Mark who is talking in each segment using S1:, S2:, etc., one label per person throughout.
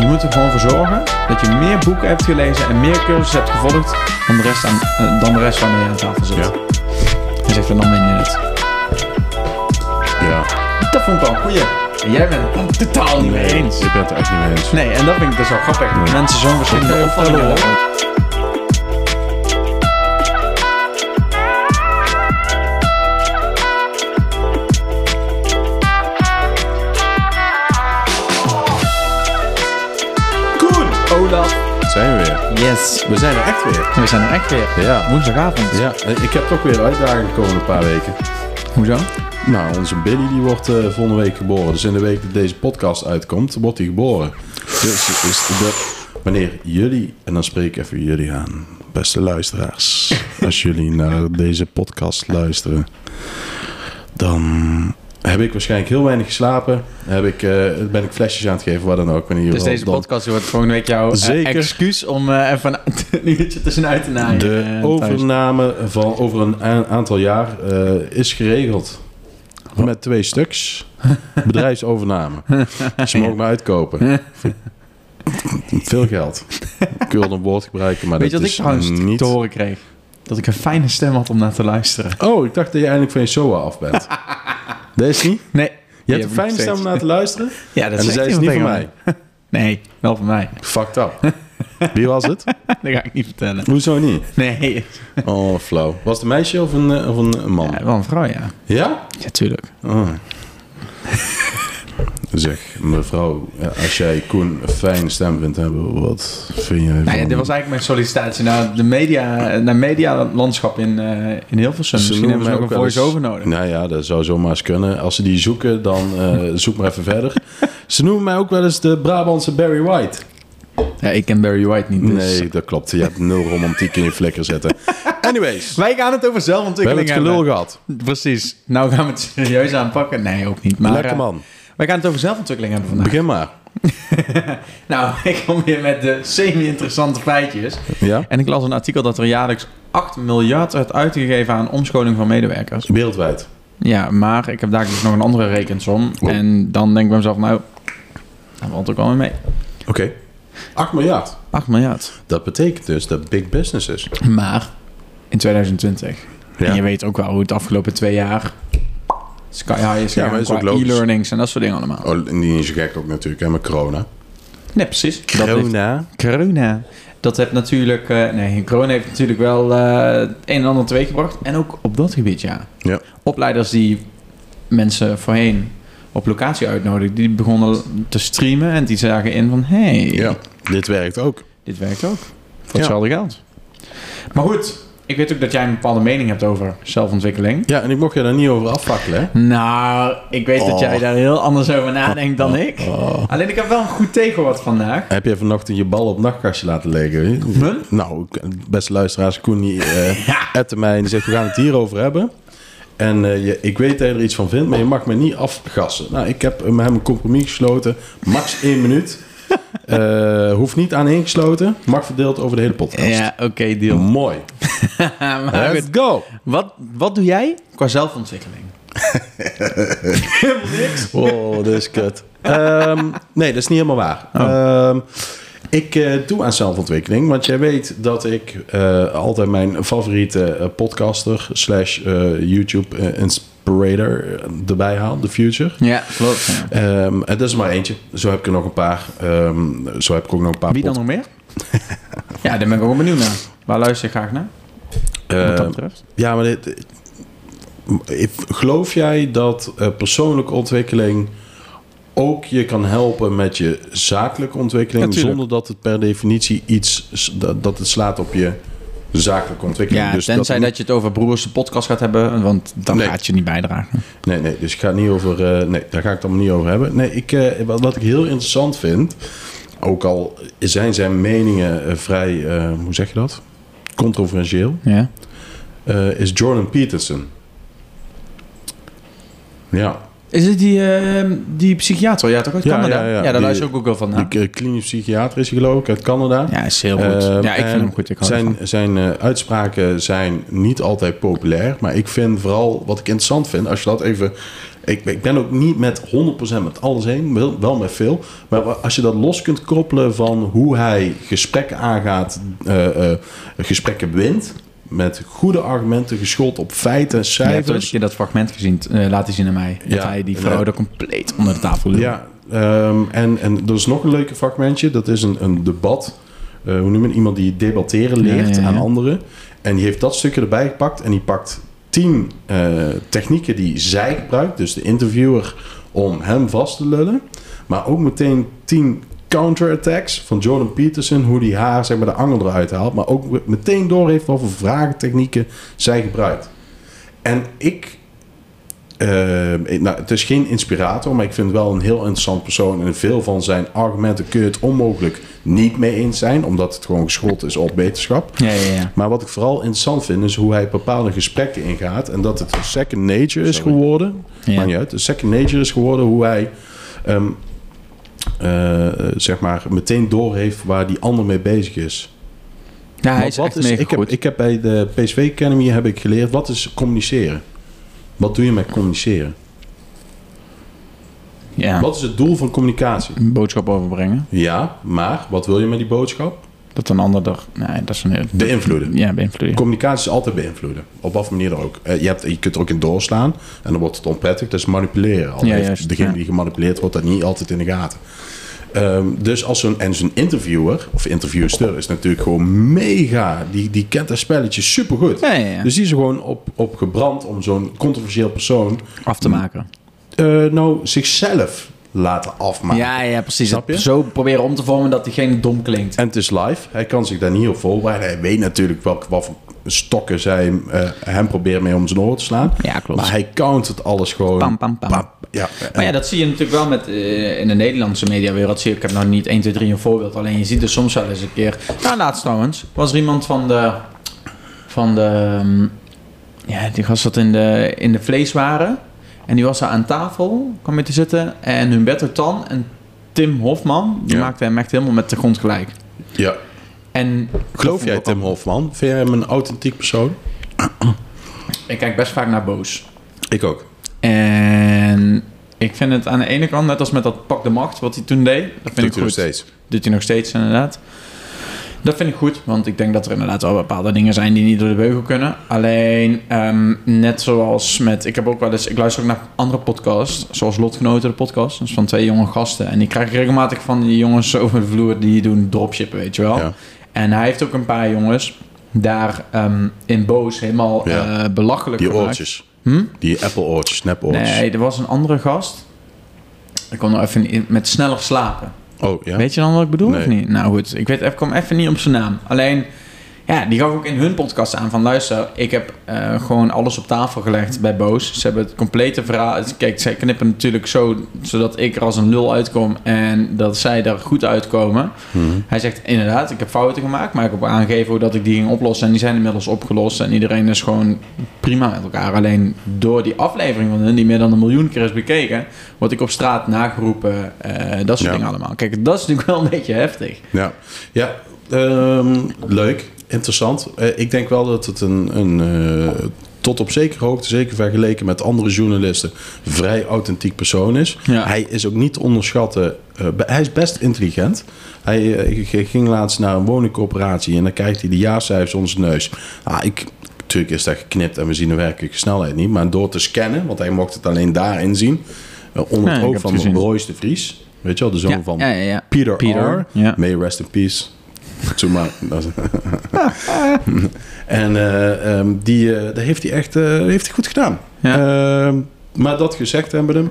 S1: Je moet er gewoon voor zorgen dat je meer boeken hebt gelezen en meer cursussen hebt gevolgd dan de rest, aan, eh, dan de rest waarmee je aan tafel zit.
S2: Ja.
S1: Hij zegt er dan minder net.
S2: Ja,
S1: Dat vond ik wel een goeie. En jij bent het dan totaal niet mee eens.
S2: ik ben het er echt niet mee eens.
S1: Nee, en dat vind ik dus wel grappig. Dat
S2: Nee.
S1: mensen zo'n verschillende
S2: Ik
S1: opvattingen
S2: vertel
S1: hebben. Koen! Olaf.
S2: Zijn we weer.
S1: Yes.
S2: We zijn er echt weer.
S1: We zijn er echt weer.
S2: Ja.
S1: Woensdagavond.
S2: Ja, eh, ik heb toch weer uitdagingen de komende paar weken.
S1: Hoezo?
S2: Nou, onze Billy die wordt eh, volgende week geboren. Dus in de week dat deze podcast uitkomt, wordt hij geboren. Dus is de, wanneer jullie, en dan spreek ik even jullie aan, beste luisteraars. Als jullie naar deze podcast luisteren, dan heb ik waarschijnlijk heel weinig geslapen. Heb ik, eh, ben ik flesjes aan het geven, waar dan ook. Wanneer
S1: Dus deze podcast wordt volgende week jouw eh,
S2: Zeker.
S1: excuus om eh, even een uurtje tussenuit te naaien.
S2: De
S1: eh, thuis.
S2: overname van over een a- aantal jaar eh, is geregeld. Met twee stuks. Bedrijfsovername. Ze mogen me uitkopen. Veel geld. Ik wilde een woord gebruiken, maar
S1: Weet je
S2: dat
S1: wat ik
S2: is
S1: trouwens
S2: niet...
S1: te horen kreeg? Dat ik een fijne stem had om naar te luisteren.
S2: Oh, ik dacht dat je eindelijk van je SOA af bent. dat is niet.
S1: Nee.
S2: Je hebt een fijne stem om naar te luisteren.
S1: Ja, dat
S2: en
S1: zegt
S2: dan zei ze
S1: iemand
S2: niet van
S1: tegen
S2: mij.
S1: Nee, wel van mij.
S2: Fucked up. Wie was het?
S1: dat ga ik niet vertellen.
S2: Hoezo niet?
S1: Nee.
S2: Oh, flauw. Was het een meisje of een, eh, of een man?
S1: Ja, wel een vrouw, ja.
S2: Ja?
S1: Ja, tuurlijk.
S2: Oh. zeg, mevrouw, ja, als jij Koen een fijne stem vindt hebben, wat vind jij
S1: Nou ja,
S2: van-
S1: dit was eigenlijk mijn sollicitatie naar de media, naar medialandschap in, eh in Hilversum.
S2: Ze
S1: Misschien hebben
S2: noemen
S1: ze
S2: mij
S1: nog een
S2: ook wel eens-
S1: voice-over nodig.
S2: Nou ja, dat zou zomaar eens kunnen. Als ze die zoeken, dan eh, zoek maar even verder. Ze noemen mij ook wel eens de Brabantse Barry White.
S1: Ja, ik ken Barry White niet, dus...
S2: Nee, dat klopt. Je hebt nul romantiek in je flikker zetten. Anyways,
S1: Wij gaan het over
S2: we hebben
S1: zelfontwikkeling
S2: het gelul
S1: hebben.
S2: gehad.
S1: Precies. Nou gaan we het serieus aanpakken. Nee, ook niet. Maar,
S2: Lekker
S1: eh,
S2: man.
S1: wij gaan het over zelfontwikkeling hebben vandaag.
S2: Begin maar.
S1: Nou, ik kom weer met de semi-interessante feitjes.
S2: Ja?
S1: En ik las een artikel dat er jaarlijks 8 miljard werd uitgegeven aan omscholing van medewerkers.
S2: Wereldwijd.
S1: Ja, maar ik heb daar dus nog een andere rekensom.
S2: Wow.
S1: En dan denk ik bij mezelf, nou, daar valt ook wel weer mee.
S2: Oké. 8 miljard.
S1: 8 miljard.
S2: Dat betekent dus dat big business is.
S1: Maar in 2020. En je weet ook wel hoe het afgelopen twee jaar... Sky high is
S2: Ja, maar
S1: gegaan
S2: is ook
S1: qua
S2: logisch.
S1: e-learnings en dat soort dingen allemaal.
S2: Oh, en die is zo gek ook natuurlijk, hè, met corona.
S1: Nee, precies. Dat heeft- Corona. Dat heeft natuurlijk... eh, nee, corona heeft natuurlijk wel eh, het een en ander teweeggebracht. En ook op dat gebied, ja.
S2: Ja.
S1: Opleiders die mensen voorheen op locatie uitnodigden... die begonnen te streamen en die zagen in van... hey,
S2: Ja, dit werkt ook.
S1: dit werkt ook.
S2: Ja.
S1: Voor hetzelfde geld. Maar goed, ik weet ook dat jij een bepaalde mening hebt over zelfontwikkeling.
S2: Ja, en ik mocht je daar niet over afvakkelen, hè?
S1: Nou, ik weet dat
S2: Oh.
S1: jij daar heel anders over nadenkt dan ik.
S2: Oh.
S1: Alleen ik heb wel een goed tegenwoord vandaag.
S2: Heb je vanochtend je bal op het nachtkastje laten liggen? hè?
S1: Huh?
S2: Nou, k- beste luisteraars, Koen die eh, appte mij en die zegt, we gaan het hierover hebben. En eh, je, ik weet dat je er iets van vindt, maar je mag me niet afgassen. Nou, ik heb met hem een compromis gesloten. Max één minuut. Eh, hoeft niet aaneengesloten. Mag verdeeld over de hele podcast.
S1: Ja, oké, deal.
S2: Mooi.
S1: maar
S2: Let's
S1: goed,
S2: go.
S1: wat, wat doe jij qua zelfontwikkeling?
S2: Oh, dat is kut. Ehm, nee, dat is niet helemaal waar.
S1: Oh.
S2: Ehm, ik eh, doe aan zelfontwikkeling, want jij weet dat ik eh, altijd mijn favoriete eh, podcaster slash eh, YouTube eh, inspirator eh, erbij haal, The Future.
S1: Ja, klopt. ja.
S2: Ehm, en dat is maar eentje. Zo heb ik er nog een paar. Ehm, zo heb ik ook nog een paar.
S1: Wie dan
S2: pod-
S1: nog meer? ja, daar ben ik ook wel benieuwd naar. Waar luister je graag naar? Wat dat
S2: Ehm,
S1: betreft.
S2: Ja, maar dit, ik- geloof jij dat eh, persoonlijke ontwikkeling ook je kan helpen met je zakelijke ontwikkeling,
S1: Ja, tuurlijk.
S2: zonder dat het per definitie iets s- dat, dat het slaat op je zakelijke ontwikkeling?
S1: Ja,
S2: Dus
S1: tenzij dat, je het over broers de podcast gaat hebben, want dan
S2: Nee.
S1: gaat je niet bijdragen.
S2: Nee, nee, dus ik ga het niet over. eh, nee, daar ga ik het allemaal niet over hebben. Nee, ik, eh, wat, wat ik heel interessant vind, ook al zijn zijn meningen eh, vrij, eh, hoe zeg je dat? Controversieel.
S1: Ja.
S2: eh, is Jordan Peterson. Ja,
S1: Is het die, ehm, die psychiater? Ja, toch uit
S2: Ja,
S1: Canada? Ja,
S2: ja, ja.
S1: daar
S2: Die-
S1: luister ik ook wel van naar.
S2: die k- klinisch psychiater is hij geloof ik uit Canada.
S1: Ja, is heel goed.
S2: Ehm,
S1: ja, ik
S2: en
S1: vind hem goed. Ik hou ervan.
S2: zijn zijn eh, uitspraken zijn niet altijd populair, maar ik vind vooral wat ik interessant vind, als je dat even Ik, ik ben ook niet met 100% met alles heen, wel, wel met veel. Maar wa- als je dat los kunt koppelen van hoe hij gesprekken aangaat, eh, eh, gesprekken wint. Met goede argumenten, geschoold op feiten en
S1: Je hebt wel eens
S2: cijfers.
S1: een keer dat fragment gezien, eh, laten zien aan mij. Dat
S2: Ja.
S1: hij die vrouw er compleet onder de tafel liet.
S2: Ja, ehm, en, en er is nog een leuke fragmentje. Dat is een, een debat. Eh, hoe noem je het? Iemand die debatteren leert
S1: Ja, ja, ja.
S2: aan anderen. En die heeft dat stukje erbij gepakt. En die pakt tien eh, technieken die zij gebruikt. Dus de interviewer om hem vast te lullen. Maar ook meteen tien counterattacks van Jordan Peterson. Hoe die haar zeg maar, de angel eruit haalt. Maar ook meteen door heeft wat voor vragentechnieken zij gebruikt. En ik eh, ik- nou, het is geen inspirator, maar ik vind het wel een heel interessant persoon. En veel van zijn argumenten kun je het onmogelijk niet mee eens zijn, omdat het gewoon geschot is op wetenschap.
S1: Ja, ja, ja.
S2: Maar wat ik vooral interessant vind, is hoe hij bepaalde gesprekken ingaat. En dat het een second nature is geworden.
S1: Ja.
S2: Maakt niet uit. Een second nature is geworden hoe hij, ehm, eh, zeg maar, meteen doorheeft waar die ander mee bezig is.
S1: Ja, hij
S2: Maar
S1: is
S2: wat
S1: echt mega
S2: ik, heb,
S1: goed.
S2: ik heb bij de PSV Academy heb ik geleerd wat is communiceren. Wat doe je met communiceren?
S1: ja.
S2: Wat is het doel van communicatie?
S1: Een boodschap overbrengen.
S2: Ja, maar wat wil je met die boodschap?
S1: Dat een ander dag... Nee, dat is een...
S2: Beïnvloeden.
S1: Ja, beïnvloeden.
S2: Communicatie is altijd beïnvloeden. Op wat voor manier dan ook. Eh, Je, hebt, je kunt er ook in doorslaan en dan wordt het onprettig. Dat is manipuleren. Al
S1: Ja,
S2: heeft
S1: juist,
S2: degene
S1: ja.
S2: die gemanipuleerd wordt dat niet altijd in de gaten. Ehm, dus als zo'n, en zo'n interviewer of interviewster is natuurlijk gewoon mega. Die, die kent dat spelletje supergoed.
S1: Ja, ja, ja.
S2: Dus die is er gewoon op, op gebrand om zo'n controversieel persoon
S1: Af te maken.
S2: eh, nou zichzelf laten afmaken.
S1: Ja, ja, precies.
S2: Snap je?
S1: Dat Zo proberen om te vormen dat diegene dom klinkt.
S2: En het is live. Hij kan zich daar niet op voorbereiden. Hij weet natuurlijk welke wat voor stokken zij eh, hem proberen mee om zijn oren te slaan.
S1: Ja, klopt.
S2: Maar hij countert alles gewoon.
S1: Pam, pam, pam.
S2: ja.
S1: Maar ja, dat zie je natuurlijk wel met, eh, in de Nederlandse mediawereld. Zie je, ik heb nog niet 1, 2, 3 een voorbeeld. Alleen je ziet er soms wel eens een keer... Nou, laatst trouwens was er iemand van de... Van de... mm, Ja, die gast zat in de, in de vleeswaren. En die was daar aan tafel, kwam mee te zitten. En Humberto Tan en Tim Hofman, die
S2: Ja.
S1: maakten hem echt helemaal met de grond gelijk.
S2: ja.
S1: En
S2: Geloof jij Tim Hofman? Vind jij hem een authentiek persoon?
S1: ik kijk best vaak naar Boos.
S2: Ik ook.
S1: En ik vind het aan de ene kant, net als met dat pak de macht, wat hij toen deed. Dat vind
S2: Doet
S1: ik
S2: hij nog
S1: goed.
S2: steeds.
S1: Doet hij nog steeds, inderdaad. Dat vind ik goed, want ik denk dat er inderdaad wel bepaalde dingen zijn die niet door de beugel kunnen. Alleen, ehm, net zoals met... Ik heb ook wel eens... Ik luister ook naar andere podcasts, zoals Lotgenoten, de podcast. Dat is van twee jonge gasten. En die krijg ik regelmatig van die jongens over de vloer die doen dropshippen, weet je wel.
S2: Ja.
S1: En hij heeft ook een paar jongens daar ehm, in Boos helemaal
S2: Ja.
S1: eh, belachelijk
S2: Die
S1: gemaakt.
S2: oortjes.
S1: Hm?
S2: Die Apple oortjes, snap oortjes.
S1: Nee, er was een andere gast. Ik kon nog even niet- met sneller slapen.
S2: Oh ja.
S1: Weet je dan wat ik bedoel
S2: Nee.
S1: of niet? Nou goed, ik, weet, ik kwam even niet op zijn naam. Alleen, ja, die gaf ook in hun podcast aan van... luister, ik heb eh, gewoon alles op tafel gelegd bij Boos. Ze hebben het complete verhaal... Kijk, zij knippen natuurlijk zo... zodat ik er als een lul uitkom... en dat zij er goed uitkomen.
S2: Mhm.
S1: Hij zegt inderdaad, ik heb fouten gemaakt... maar ik heb aangegeven hoe dat ik die ging oplossen... en die zijn inmiddels opgelost... en iedereen is gewoon prima met elkaar. Alleen door die aflevering van hun... die meer dan een miljoen keer is bekeken... word ik op straat nageroepen. eh, dat soort
S2: Ja.
S1: dingen allemaal. Kijk, dat is natuurlijk wel een beetje heftig.
S2: Ja, ja ehm, leuk, interessant. Eh, ik denk wel dat het een, een eh, tot op zekere hoogte, zeker vergeleken met andere journalisten, vrij authentiek persoon is.
S1: Ja.
S2: Hij is ook niet te onderschatten. eh, be- hij is best intelligent. Hij eh, g- ging laatst naar een woningcorporatie en dan kijkt hij de jaarcijfers onder zijn neus. Ah, ik, natuurlijk is dat geknipt en we zien de werkelijke snelheid niet. Maar door te scannen, want hij mocht het alleen daarin zien, eh, onder
S1: Ja,
S2: het
S1: ik
S2: oog
S1: heb
S2: van
S1: het gezien.
S2: Royce de Vries. Weet je wel, de zoon van
S1: ja, ja, ja.
S2: Peter,
S1: Peter,
S2: R.
S1: ja.
S2: May he rest in peace. To my, dat is- en eh, ehm, die, eh, dat heeft hij echt eh, heeft hij goed gedaan.
S1: Ja.
S2: Ehm, maar dat gezegd hebben we hem,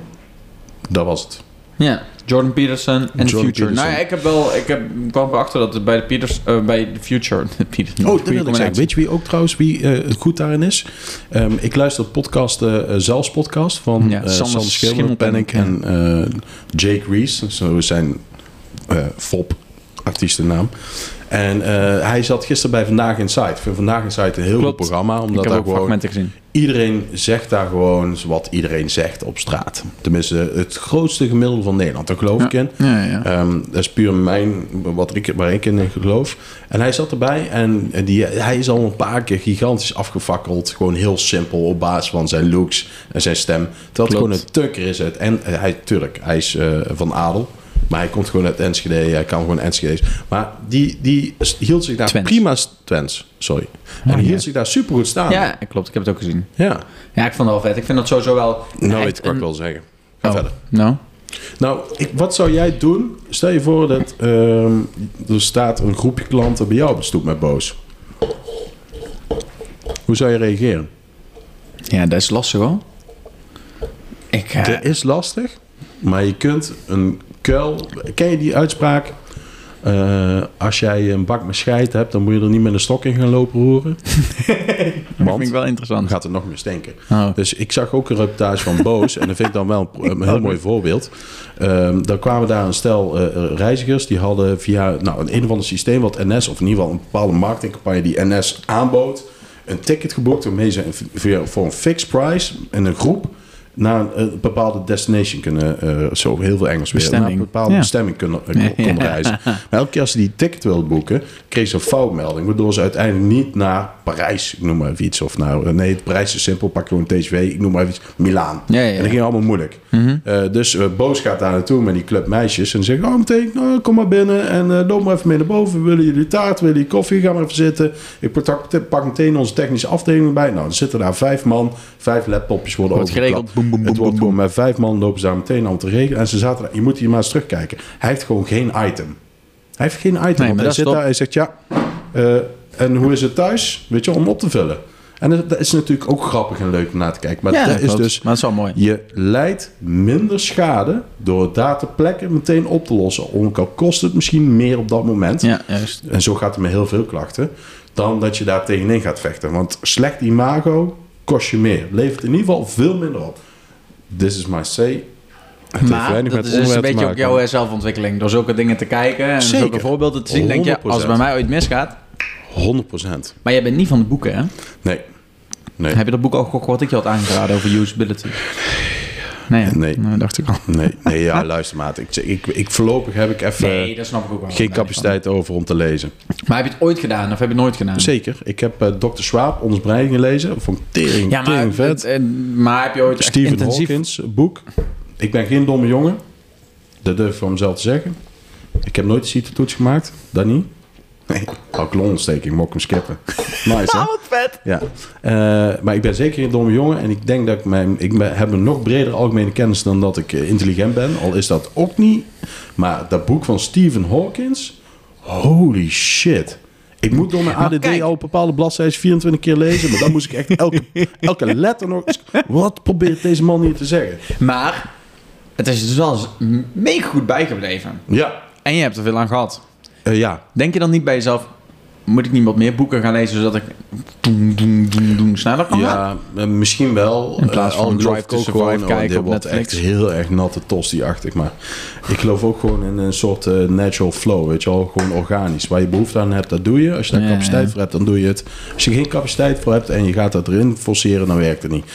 S2: dat was het.
S1: Ja, Jordan Peterson en
S2: Jordan
S1: Future.
S2: Peterson.
S1: Nou ja, ik heb wel, ik heb, ik kwam erachter dat het bij de Peters, eh, bij de Future. Peterson, goede
S2: Oh, dat wil ik zeggen.
S1: combinatie.
S2: Weet je wie ook trouwens wie eh, goed daarin is? Ehm, ik luister de podcast, eh zelfs podcast van
S1: Ja,
S2: eh,
S1: Sander
S2: Sander Schimmelpennink en
S1: Schimmelpenninck,
S2: eh, Jake Rees. Zo is zijn eh fop artiestennaam. En eh, hij zat gisteren bij Vandaag Insight. Ik vind Vandaag Insight een heel
S1: Klopt.
S2: goed programma. Omdat
S1: ik heb
S2: daar
S1: ook
S2: gewoon
S1: fragmenten gezien.
S2: Iedereen zegt daar gewoon wat iedereen zegt op straat. Tenminste, het grootste gemiddelde van Nederland. Daar geloof ik in.
S1: Ja, ja.
S2: Ehm, dat is puur mijn, wat ik, waar ik in eh, geloof. En hij zat erbij en eh, die, hij is al een paar keer gigantisch afgefakkeld. Gewoon heel simpel op basis van zijn looks en zijn stem. Terwijl
S1: Klopt.
S2: het gewoon een tukker is. Uit, en eh, hij, tuurlijk, hij is eh, van adel. Maar hij komt gewoon uit Enschede. Hij kan gewoon Enschede's. Maar die, die hield zich daar
S1: Twents.
S2: prima... Twents, sorry.
S1: Ah,
S2: en die hield zich daar supergoed staan.
S1: ja, klopt. Ah, Ik heb het ook gezien.
S2: ja.
S1: Ja, ik vond het wel vet. Ik vind dat sowieso wel...
S2: Nou, weet
S1: echt
S2: ik wat ik
S1: een-
S2: wil zeggen. Ga
S1: Oh,
S2: verder.
S1: Nou?
S2: Nou, ik, wat zou jij doen? Stel je voor dat ehm, er staat een groepje klanten bij jou op de stoep met boos. Hoe zou je reageren?
S1: Ja, dat is lastig hoor. Ik, eh,
S2: Dat is lastig, maar je kunt een kuil... Ken je die uitspraak? Eh, als jij een bak met scheid hebt, dan moet je er niet met een stok in gaan lopen roeren.
S1: dat vind ik wel interessant.
S2: Dan gaat het nog meer stinken.
S1: Oh.
S2: Dus ik zag ook een reportage van Boos. en dat vind ik dan wel een, een heel mooi voorbeeld. Ehm, dan kwamen daar een stel eh, reizigers. Die hadden via nou, een, een of ander systeem wat NS... of in ieder geval een bepaalde marketingcampagne die NS aanbood... een ticket geboekt waarmee ze een- via, voor een fixed price in een groep... naar een, een bepaalde destination kunnen... eh, zo heel veel Engels weer.
S1: Bestemming.
S2: Naar een bepaalde
S1: Ja.
S2: bestemming kunnen, eh, kon- konden
S1: Ja.
S2: reizen. Maar elke keer als ze die ticket wilden boeken... kreeg ze een foutmelding... waardoor ze uiteindelijk niet naar Parijs... ik noem maar even iets. Of naar... Nee, Parijs is simpel. Pak gewoon TCW. Ik noem maar even iets. Milaan.
S1: Ja, ja, ja. Mhm.
S2: En dat ging allemaal moeilijk. Eh, dus eh, Boos gaat daar naartoe met die club meisjes. En zegt, oh meteen, nou, kom maar binnen. En eh, loop maar even mee naar boven. Willen jullie taart? Willen jullie koffie? Ga maar even zitten. Ik pak, pak meteen onze technische afdeling bij. Nou, er zitten daar vijf man. Vijf laptopjes worden
S1: Wordt
S2: overgeklapt.
S1: geregeld. Boem, boem, boem,
S2: Het wordt
S1: boem,
S2: gewoon met vijf man lopen ze daar meteen aan te regelen. En ze zaten daar, je moet hier maar eens terugkijken. Hij heeft gewoon geen item. Hij heeft geen item.
S1: maar
S2: want
S1: dat
S2: hij
S1: is
S2: zit
S1: top.
S2: daar en zegt, ja, eh, en hoe is het thuis? Weet je, om op te vullen. En dat dat is natuurlijk ook grappig en leuk om naar te kijken. Maar
S1: ja,
S2: dat is
S1: klopt.
S2: dus
S1: Maar dat is wel mooi.
S2: je leidt minder schade door het daar ter plekke meteen op te lossen. Ook al kost het misschien meer op dat moment.
S1: Ja, juist.
S2: En zo gaat het met heel veel klachten. Dan dat je daar tegenin gaat vechten. Want slecht imago kost je meer. Levert in ieder geval veel minder op. This is my say. Het heeft
S1: Maar
S2: weinig
S1: dat
S2: met
S1: is dus een
S2: onderwerp te
S1: beetje ook
S2: maken.
S1: jouw eh, zelfontwikkeling. Door zulke dingen te kijken en
S2: Zeker.
S1: zulke voorbeelden te zien, denk je, als het bij
S2: 100%.
S1: mij ooit misgaat.
S2: 100%.
S1: Maar jij bent niet van de boeken, hè?
S2: Nee. Nee.
S1: Heb je dat boek ook gekocht wat ik je had aangeraden over usability? Nee, hè?
S2: Nee.
S1: Nou, dacht ik al.
S2: Nee, nee, ja, luister maat. Ik, ik, ik, voorlopig heb ik even
S1: Nee, dat snap ik ook wel.
S2: Eh, geen capaciteit over om te lezen.
S1: Maar heb je het ooit gedaan of heb je het nooit gedaan?
S2: Zeker. Ik heb eh Dr. Swaap, Ons Brein, gelezen. Vond ik tering,
S1: Ja, maar,
S2: tering vet.
S1: het- eh, maar heb je ooit echt
S2: Stephen
S1: intensief...
S2: Hawkins boek. Ik ben geen domme jongen. Dat durf ik van mezelf te zeggen. Ik heb nooit de CITO-toets gemaakt. Dat niet. Nee. Ook longontsteking, mok hem skippen. Nice, hè?
S1: Ah, wat vet!
S2: Ja. Eh, maar ik ben zeker geen domme jongen. En ik denk dat ik mijn... Ik ben- heb een nog breder algemene kennis dan dat ik eh, intelligent ben. Al is dat ook niet. Maar dat boek van Stephen Hawkins... Holy shit. Ik moet door mijn ADD
S1: Nou, kijk.
S2: al bepaalde bladzijden 24 keer lezen. Maar dan moest ik echt elke, elke letter nog... eens- Wat probeert deze man hier te zeggen?
S1: Maar het is dus wel eens mega goed bijgebleven.
S2: Ja.
S1: En je hebt er veel aan gehad.
S2: Eh, ja.
S1: Denk je dan niet bij jezelf... Moet ik niet wat meer boeken gaan lezen, zodat ik doen, doen, doen, doen, sneller kan gaan?
S2: Ja, eh, misschien wel.
S1: In plaats
S2: Eh, al
S1: van
S2: geloof
S1: Drive
S2: ik
S1: to
S2: ook
S1: Survive
S2: gewoon- oh,
S1: kijken
S2: dit
S1: op
S2: wordt
S1: Netflix.
S2: echt heel erg natte tosti-achtig. Maar ik geloof ook gewoon in een soort eh, natural flow. Weet je wel, gewoon organisch. Waar je behoefte aan hebt, dat doe je. Als je daar
S1: Ja,
S2: capaciteit
S1: ja.
S2: voor hebt, dan doe je het. Als je geen capaciteit voor hebt en je gaat dat erin forceren, dan werkt het niet.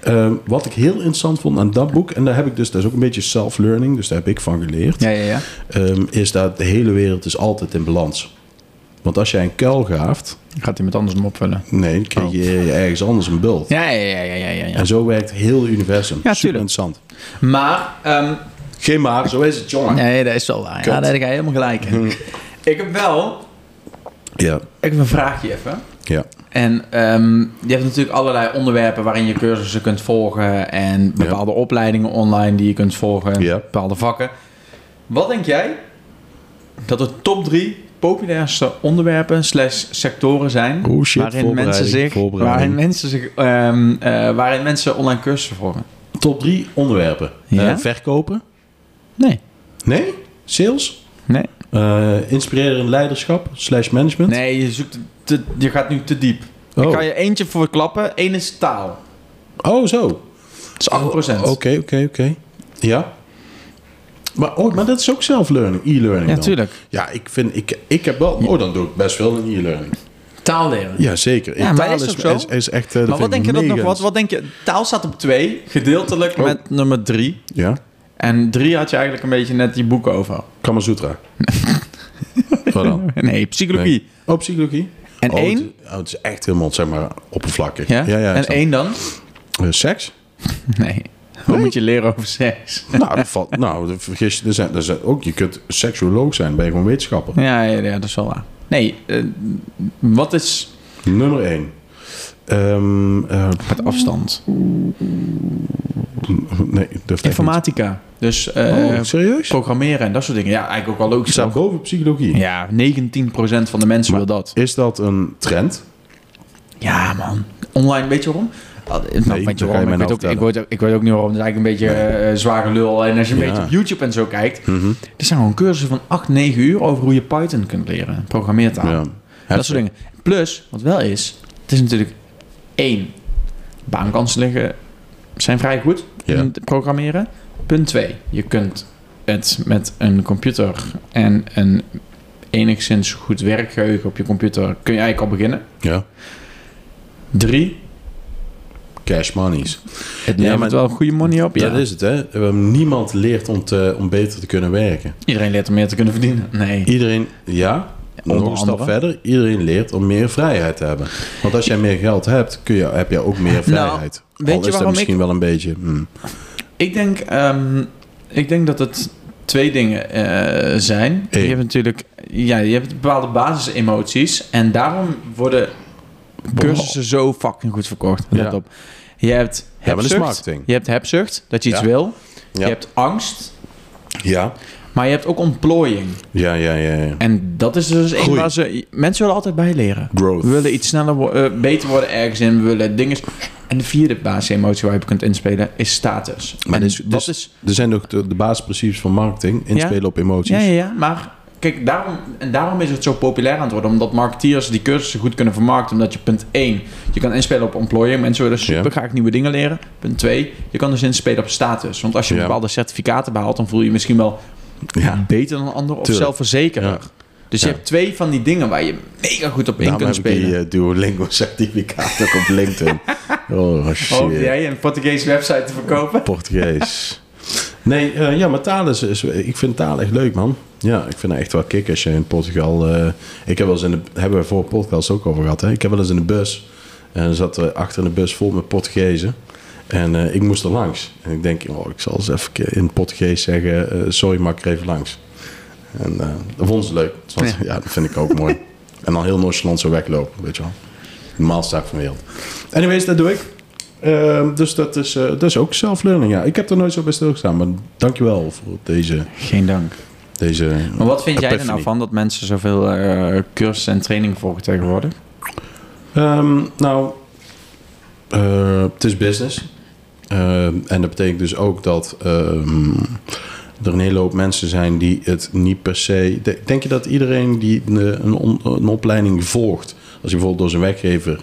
S2: Ehm, wat ik heel interessant vond aan dat boek, en daar heb ik dus, dat is ook een beetje self-learning, dus daar heb ik van geleerd
S1: Ja, ja, ja.
S2: ehm, is dat de hele wereld is altijd in balans. Want als jij een kuil graaft,
S1: Gaat iemand anders hem opvullen?
S2: nee, dan krijg je
S1: Oh.
S2: ergens anders een bult.
S1: Ja, ja, ja, ja, ja. ja, ja.
S2: En zo werkt heel het universum.
S1: Ja,
S2: Super
S1: tuurlijk.
S2: interessant.
S1: Maar, ehm,
S2: Geen maar, zo is het, jongen.
S1: nee, dat is wel waar. Ja,
S2: Kut.
S1: daar heb je helemaal gelijk in. ik heb wel...
S2: Ja,
S1: Ik heb een vraagje even.
S2: ja.
S1: En ehm, je hebt natuurlijk allerlei onderwerpen waarin je cursussen kunt volgen. En bepaalde opleidingen online die je kunt volgen.
S2: Ja.
S1: Bepaalde vakken. Wat denk jij dat de top drie populairste onderwerpen slash sectoren zijn...
S2: Oh shit,
S1: waarin, mensen zich,
S2: voorbereiding,
S1: waarin,
S2: voorbereiding.
S1: mensen zich, ehm, eh, waarin mensen online cursussen volgen?
S2: Top drie onderwerpen.
S1: Ja?
S2: Eh, verkopen.
S1: Nee.
S2: Nee? Sales.
S1: Nee.
S2: Eh inspirerend leiderschap slash management.
S1: Nee, je, zoekt te- je gaat nu te diep. Ik
S2: Oh.
S1: kan je eentje voor klappen. Eén is taal.
S2: Oh, zo.
S1: Dat is 8%.
S2: Oké, oké, oké. Ja. Maar, oh, maar dat is ook self-learning, e-learning.
S1: Ja,
S2: dan.
S1: tuurlijk.
S2: Ja, ik vind, ik, ik heb wel, oh, dan doe ik best wel een e-learning.
S1: Taal leren.
S2: Ja, zeker.
S1: Ja,
S2: In
S1: maar
S2: taal
S1: is
S2: is,
S1: ook zo.
S2: is, is echt. eh, dat
S1: maar
S2: vind
S1: wat
S2: ik
S1: denk je dat nog
S2: mega
S1: wat? Wat denk je? Oh. Taal staat op twee, gedeeltelijk met nummer drie.
S2: Ja,
S1: En drie had je eigenlijk een beetje net je boek over.
S2: Kamasutra. wat dan?
S1: Nee, psychologie.
S2: Oh, psychologie.
S1: En
S2: oh,
S1: één?
S2: Het, oh, het is echt helemaal, zeg maar, oppervlakkig.
S1: Ja?
S2: ja, ik
S1: en
S2: snap.
S1: één dan?
S2: Eh, seks?
S1: Nee. Wat moet je leren over seks?
S2: nou, dat valt, nou, dat vergis je. Er zijn, er zijn ook, je kunt seksuoloog zijn, ben je gewoon wetenschapper.
S1: Ja, ja, ja, dat is wel waar. Nee, eh, wat is
S2: Nummer Ehm, eh, 1.
S1: met afstand?
S2: nee, ik durf het echt
S1: Informatica. Dus eh,
S2: niet. Oh, serieus?
S1: programmeren en dat soort dingen. Ja, eigenlijk ook wel
S2: Ik
S1: logisch.
S2: sta boven psychologie.
S1: Ja, 19% van de mensen wil dat.
S2: Is dat een trend?
S1: Ja, man. Online, weet je waarom? Nou,
S2: ik-
S1: weet je
S2: dat kan je
S1: waarom?
S2: mij
S1: Ik
S2: nou
S1: weet, ook, ik,
S2: vertellen.
S1: weet ook, ik weet ook niet waarom. Dat is eigenlijk een beetje eh, zware lul. En als je een
S2: Ja.
S1: beetje op YouTube en zo kijkt... Er zijn gewoon cursussen van 8, 9 uur over hoe je Python kunt leren. Programmeertaal.
S2: Ja.
S1: Nou, Dat soort dingen. Plus, wat wel is... Het is natuurlijk één. Baankansen liggen zijn vrij goed
S2: Ja.
S1: in het programmeren. Punt 2. Je kunt het met een computer en een enigszins goed werkgeheugen op je computer... kun je eigenlijk al beginnen.
S2: Ja.
S1: Drie,
S2: Cash monies.
S1: Het
S2: Ja,
S1: levert
S2: maar
S1: wel een goede money op. Ja.
S2: Dat is het, hè? Eh, Niemand leert om, te, om beter te kunnen werken.
S1: Iedereen leert om meer te kunnen verdienen. Nee.
S2: Iedereen, ja,
S1: Onder
S2: nog een stap
S1: andere.
S2: verder. Iedereen leert om meer vrijheid te hebben. Want als jij meer geld hebt, kun je, heb jij ook meer vrijheid.
S1: Nou, weet je
S2: Al is dat
S1: waarom
S2: misschien wel een beetje... hmm.
S1: Ik denk, ehm, ik denk dat het twee dingen eh, zijn.
S2: Eén.
S1: Je hebt natuurlijk ja, je hebt bepaalde basisemoties. En daarom worden cursussen zo fucking goed verkocht. Let
S2: Ja.
S1: op. Je hebt
S2: Ja, maar dat is
S1: hebzucht.
S2: marketing.
S1: je hebt hebzucht, dat je iets
S2: Ja.
S1: wil.
S2: Ja.
S1: Je hebt angst.
S2: Ja.
S1: Maar je hebt ook ontplooiing.
S2: Ja, ja, ja, ja.
S1: En dat is dus één
S2: Groei.
S1: waar ze... Mensen willen altijd bij leren.
S2: Growth.
S1: We willen iets sneller, wo- eh, beter worden ergens in. We willen dingen... En de vierde basisemotie waar je op kunt inspelen is status.
S2: Maar
S1: en
S2: dus-
S1: dat
S2: dus-
S1: is...
S2: Er zijn ook de, de basisprincipes van marketing. Inspelen op emoties.
S1: Ja, ja, ja. Maar kijk, daarom, en daarom is het zo populair aan het worden. Omdat marketeers die cursussen goed kunnen vermarkten. Omdat je punt 1, je kan inspelen op employer. Mensen willen super graag nieuwe dingen leren. Punt 2, je kan dus inspelen op status. Want als je
S2: Ja.
S1: bepaalde certificaten behaalt, dan voel je je misschien wel
S2: Ja.
S1: beter dan een ander of
S2: Tuurlijk.
S1: zelfverzekerder.
S2: Ja.
S1: Dus je
S2: Ja.
S1: hebt twee van die dingen waar je mega goed op in
S2: Daarom
S1: kunt
S2: heb ik die
S1: spelen.
S2: eh, Duolingo-certificaat ook op LinkedIn. Oh, shit.
S1: Hoop jij een Portugese website te verkopen?
S2: Portugees. Nee, eh, ja, maar taal is, is- Ik vind taal echt leuk, man. Ja, ik vind het echt wel kick als je in Portugal... eh, ik heb wel eens in de... Hebben we voor podcast ook over gehad, hè? Ik heb wel eens in de bus... En er zat er achter in de bus vol met Portugezen. En eh, ik moest er langs. En ik denk, oh, ik zal eens even ke- in Portugees zeggen... eh, sorry, maar ik er even langs. En eh, dat vonden ze leuk. Dus dat-
S1: Ja.
S2: ja. dat vind ik ook mooi. En dan heel nonchalant zo weglopen, weet je wel. Normaalste zaak van de wereld. Anyways, dat doe ik. Ehm, dus dat is, eh, dat is ook self-learning, ja. Ik heb er nooit zo bij stilgestaan, maar dankjewel voor deze...
S1: Geen dank.
S2: deze
S1: Maar wat vind jij er nou
S2: epiphany.
S1: van dat mensen zoveel eh cursussen en training volgen tegenwoordig?
S2: Ehm, nou, eh, het is business. Ehm, en dat betekent dus ook dat ehm, er een hele hoop mensen zijn die het niet per se. De- Denk je dat iedereen die een, een on- een opleiding volgt, als hij bijvoorbeeld door zijn werkgever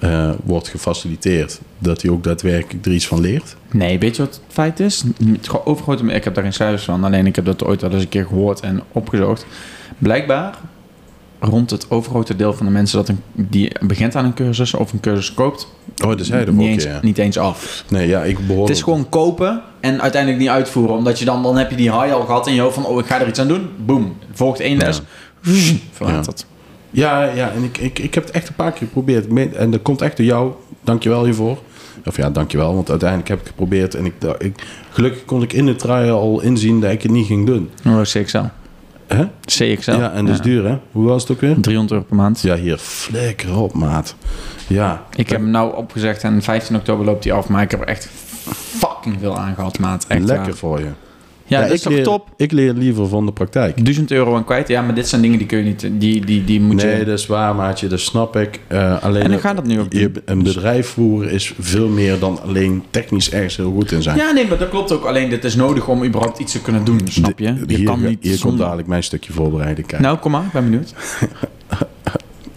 S2: eh, wordt gefaciliteerd, dat hij ook daadwerkelijk er iets van leert?
S1: Nee, weet je wat het feit is? Het gro- overgrote, ik heb daar geen cijfers van. Alleen ik heb dat ooit wel eens een keer gehoord en opgezocht. Blijkbaar rond het overgrote deel van de mensen dat een, die begint aan een cursus of een cursus koopt,
S2: Oh, dat zei je de
S1: niet
S2: vorige
S1: eens,
S2: keer. ja.
S1: niet eens af.
S2: Nee, ja, ik behoor.
S1: Het is gewoon kopen en uiteindelijk niet uitvoeren. Omdat je dan, dan heb je die high al gehad in je hoofd van, oh, ik ga er iets aan doen. Boom. Volgt één
S2: Ja.
S1: les. Verlaat dat.
S2: Ja, ja, en ik, ik, ik heb het echt een paar keer geprobeerd. Ik meen- En dat komt echt door jou. Dankjewel hiervoor. Of ja, dankjewel, want uiteindelijk heb ik het geprobeerd. En ik, ik, gelukkig kon ik in de trial al inzien dat ik het niet ging doen.
S1: Oh, CXL.
S2: Hè?
S1: CXL.
S2: Ja, en dus dat is duur, hè? Hoe was het ook weer?
S1: 300 euro per maand.
S2: Ja, hier, flikker op, maat. Ja.
S1: Ik heb hem nou opgezegd en 15 oktober loopt hij af. Maar ik heb er echt fucking veel aan gehad, maat. Echt
S2: lekker
S1: waar.
S2: voor je.
S1: Ja, dat is
S2: ik
S1: toch
S2: leer-
S1: top?
S2: Ik leer liever van de praktijk.
S1: 1000 euro aan kwijt. Ja, maar dit zijn dingen die kun je niet. Die, die, die moet
S2: Nee,
S1: je.
S2: dat is waar, maatje. Dat snap ik. Eh, alleen
S1: En dan gaat dat nu ook.
S2: je, een bedrijf voeren is veel meer dan alleen technisch ergens heel goed in zijn.
S1: Ja, nee, maar dat klopt ook. Alleen dit is nodig om überhaupt iets te kunnen doen, snap je? Je
S2: hier
S1: kan niet
S2: hier komt
S1: zonder-
S2: dadelijk mijn stukje voorbereiden. Kijk.
S1: Nou, kom maar, ik ben benieuwd.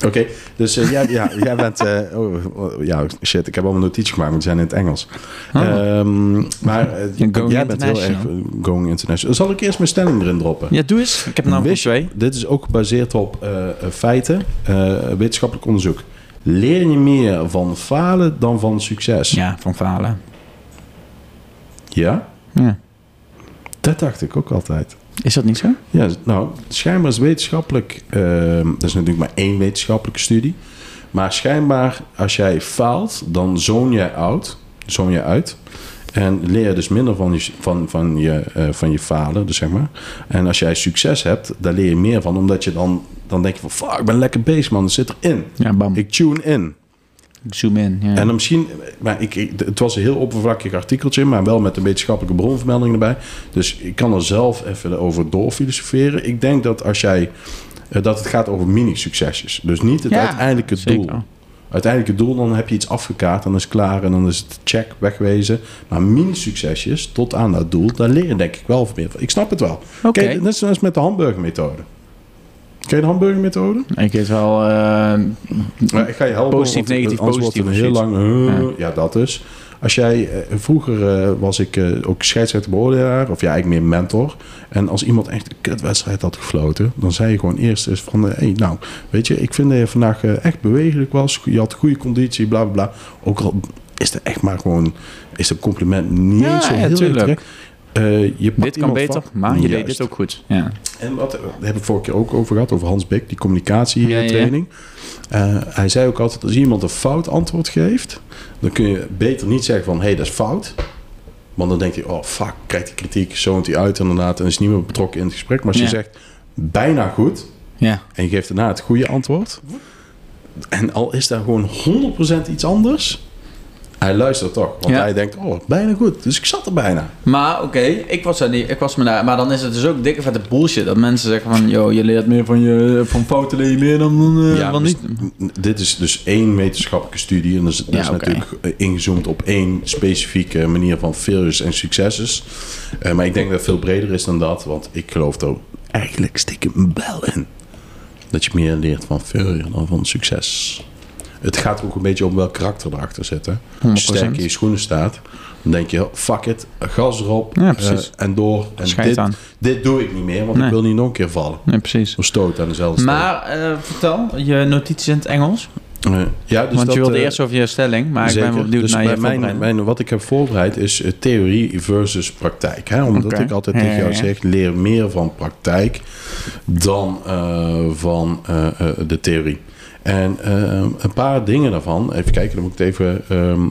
S2: Oké, dus eh, jij, ja, jij bent... eh, oh, oh, ja, shit, ik heb allemaal notities gemaakt, want die zijn in het Engels. Ehm, maar eh,
S1: Ah. Going
S2: jij bent heel erg eh,
S1: international.
S2: going international. Zal ik eerst mijn stelling erin droppen?
S1: Ja, doe eens. Ik heb namelijk
S2: Wist je-
S1: twee.
S2: Dit is ook gebaseerd op eh, eh, feiten, eh, wetenschappelijk onderzoek. Leer je meer van falen dan van succes?
S1: Ja, van falen.
S2: Ja?
S1: Ja.
S2: Dat dacht ik ook altijd.
S1: Is dat niet zo?
S2: Ja, nou, schijnbaar is wetenschappelijk... ehm er is natuurlijk maar één wetenschappelijke studie. Maar schijnbaar, als jij faalt, dan zoon jij uit. Zoon je uit. En leer je dus minder van je, van, van je, eh, van je falen, dus zeg maar. En als jij succes hebt, daar leer je meer van. Omdat je dan, dan denk je van, fuck, ik ben lekker bezig, man. Dat zit erin.
S1: Ja, bam. Ik,
S2: Ik tune in.
S1: zoom in. Ja.
S2: En dan misschien, maar ik, ik- het was een heel oppervlakkig artikeltje, maar wel met een wetenschappelijke bronvermelding erbij. Dus ik kan er zelf even over doorfilosoferen. Ik denk dat als jij, eh, dat het gaat over mini-succesjes. Dus niet het
S1: Ja,
S2: uiteindelijke
S1: zeker.
S2: doel. Uiteindelijk het doel, dan heb je iets afgekaart, dan is het klaar en dan is het check, wegwezen. Maar mini-succesjes tot aan dat doel, daar leer je denk ik wel van meer van. Ik snap het wel.
S1: Oké.
S2: Kijk, net zoals met de hamburgermethode. Ken je de hamburgermethode?
S1: Ik weet wel... eh,
S2: Maar ik ga je helpen.
S1: Positief,
S2: want
S1: negatief,
S2: anders wordt het
S1: positief
S2: een
S1: of
S2: heel lang. eh, ja. dat dus. Als jij, eh, vroeger eh, was ik eh, ook scheidsrechterbeoordelaar, of ja, eigenlijk meer mentor. En als iemand echt een kutwedstrijd had gefloten, dan zei je gewoon eerst eens van, eh, hey, nou, weet je, ik vind dat je vandaag eh, echt bewegelijk was. Je had goede conditie, bla bla bla. Ook al is het echt maar gewoon, is het compliment niet
S1: Ja,
S2: eens zo
S1: ja,
S2: heel
S1: tuurlijk.
S2: direct. Eh, je pakt
S1: dit kan
S2: iemand
S1: beter,
S2: vast.
S1: maar je deed
S2: Juist.
S1: dit ook goed. Ja.
S2: En wat, eh, daar hebben we vorige keer ook over gehad, over Hans Beek, die
S1: Ja, ja.
S2: communicatietraining. Eh, hij zei ook altijd, als iemand een fout antwoord geeft, dan kun je beter niet zeggen van, hé, hey, dat is fout. Want dan denk je, oh fuck, krijgt die kritiek, zoont die uit inderdaad, en is niet meer betrokken in het gesprek. Maar als
S1: Ja.
S2: je zegt, bijna goed,
S1: Ja.
S2: en je geeft daarna het goede antwoord. En al is daar gewoon 100% iets anders, hij luistert toch. Want
S1: Ja.
S2: hij denkt, oh, bijna goed, dus ik zat er bijna.
S1: Maar oké, ik was daar niet. Ik was me daar. Maar dan is het dus ook dikke vette bullshit. Dat mensen zeggen van, joh, je leert meer van je van fouten leer je meer dan eh,
S2: Ja,
S1: van
S2: dus
S1: niet.
S2: n- Dit is dus één wetenschappelijke studie. En dat is, dat
S1: Ja,
S2: is
S1: oké.
S2: natuurlijk eh, ingezoomd op één specifieke manier van failures en succeses. Eh, maar ik denk dat het veel breder is dan dat. Want ik geloof er eigenlijk stiekem wel in. Dat je meer leert van failure dan van succes. Het gaat er ook een beetje om welk karakter erachter zit. Hè? Als je
S1: 100%.
S2: sterk in je schoenen staat, dan denk je, fuck it, gas erop
S1: Ja, precies.
S2: eh, en door. En
S1: Schijt
S2: dit,
S1: aan.
S2: dit doe ik niet meer, want
S1: Nee.
S2: ik wil niet nog een keer vallen.
S1: Nee, precies.
S2: Of stoot aan dezelfde steen.
S1: Maar eh, vertel, je notities in het Engels.
S2: Eh, ja, dus
S1: want
S2: dat,
S1: je wilde
S2: eh,
S1: eerst over je stelling, maar ik ben wel benieuwd
S2: dus
S1: naar
S2: bij
S1: je
S2: mijn,
S1: voorbereiding.
S2: mijn, Wat ik heb voorbereid is eh, theorie versus praktijk. Hè? Omdat
S1: Oké.
S2: ik altijd
S1: Ja,
S2: tegen
S1: ja,
S2: jou
S1: ja.
S2: zeg, leer meer van praktijk dan eh, van eh, eh, de theorie. En eh, een paar dingen daarvan, even kijken, dan moet ik het even... ehm,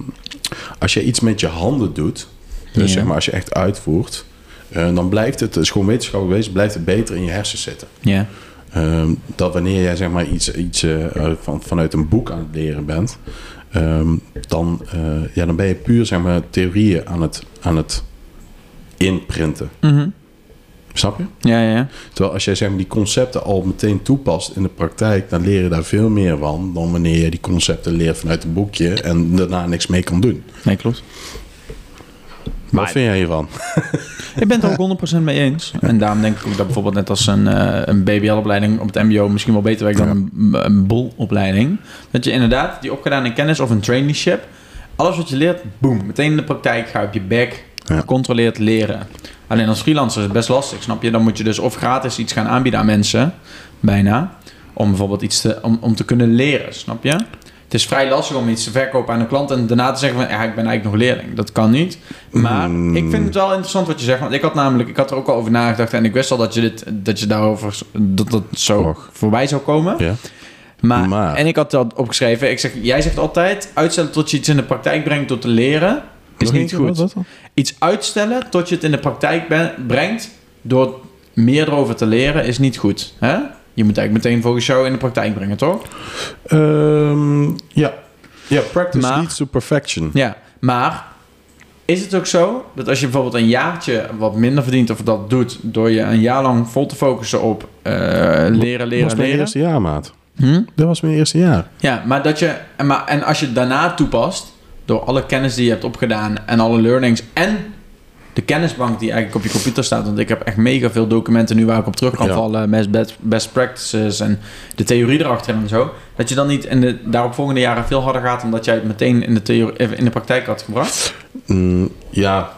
S2: als je iets met je handen doet, dus
S1: Ja.
S2: zeg maar als je echt uitvoert... eh, dan blijft het, het is gewoon wetenschappelijk geweest, blijft het beter in je hersenen zitten.
S1: Ja.
S2: Ehm, dat wanneer jij zeg maar iets, iets eh, eh, van, vanuit een boek aan het leren bent, ehm, dan, eh, ja, dan ben je puur zeg maar, theorieën aan het, aan het inprinten.
S1: Mhm.
S2: Snap je?
S1: ja, ja, ja.
S2: Terwijl als jij zeg maar, die concepten al meteen toepast in de praktijk, dan leer je daar veel meer van dan wanneer je die concepten leert vanuit een boekje en daarna niks mee kan doen.
S1: Nee, klopt.
S2: Wat vind jij hiervan?
S1: Ik ben het er ook 100% mee eens. En daarom denk ik ook dat bijvoorbeeld net als een, eh, een BBL-opleiding op het MBO misschien wel beter werkt dan
S2: Ja.
S1: een, een BOL-opleiding. Dat je inderdaad die opgedane kennis of een traineeship, alles wat je leert, boem, meteen in de praktijk ga op je bek,
S2: Ja.
S1: gecontroleerd leren. Alleen als freelancer is het best lastig, snap je? Dan moet je dus of gratis iets gaan aanbieden aan mensen, bijna, om bijvoorbeeld iets te, om, om te kunnen leren, snap je? Het is vrij lastig om iets te verkopen aan een klant en daarna te zeggen van, ja, ik ben eigenlijk nog leerling. Dat kan niet. Maar
S2: Mm.
S1: ik vind het wel interessant wat je zegt, want ik had namelijk, ik had er ook al over nagedacht en ik wist al dat je dit, dat je daarover, dat dat zo
S2: Och.
S1: voorbij zou komen.
S2: Ja.
S1: Maar,
S2: Maar-
S1: en ik had dat opgeschreven, ik zeg, jij zegt altijd, uitstellen tot je iets in de praktijk brengt tot te leren, is
S2: Nog
S1: niet
S2: eentje,
S1: goed.
S2: wat was dat?
S1: Iets uitstellen tot je het in de praktijk be- brengt door meer erover te leren, is niet goed. Hè? Je moet eigenlijk meteen volgens jou in de praktijk brengen, toch?
S2: Ehm, ja. ja, practice
S1: Maar-
S2: leads to perfection.
S1: Ja, maar is het ook zo dat als je bijvoorbeeld een jaartje wat minder verdient of dat doet, door je een jaar lang vol te focussen op eh, leren,
S2: Dat was
S1: leren,
S2: mijn
S1: leren.
S2: eerste jaar, maat.
S1: Hm?
S2: Dat was mijn eerste jaar.
S1: Ja, maar dat je, en maar, en als je het daarna toepast, door alle kennis die je hebt opgedaan en alle learnings en de kennisbank die eigenlijk op je computer staat. Want ik heb echt mega veel documenten nu waar ik op terug kan
S2: Ja.
S1: vallen. Best, best, best practices en de theorie erachter en zo. Dat je dan niet in de daarop volgende jaren veel harder gaat. Omdat jij het meteen in de, theorie, eh, in de praktijk had gebracht.
S2: Mm, ja.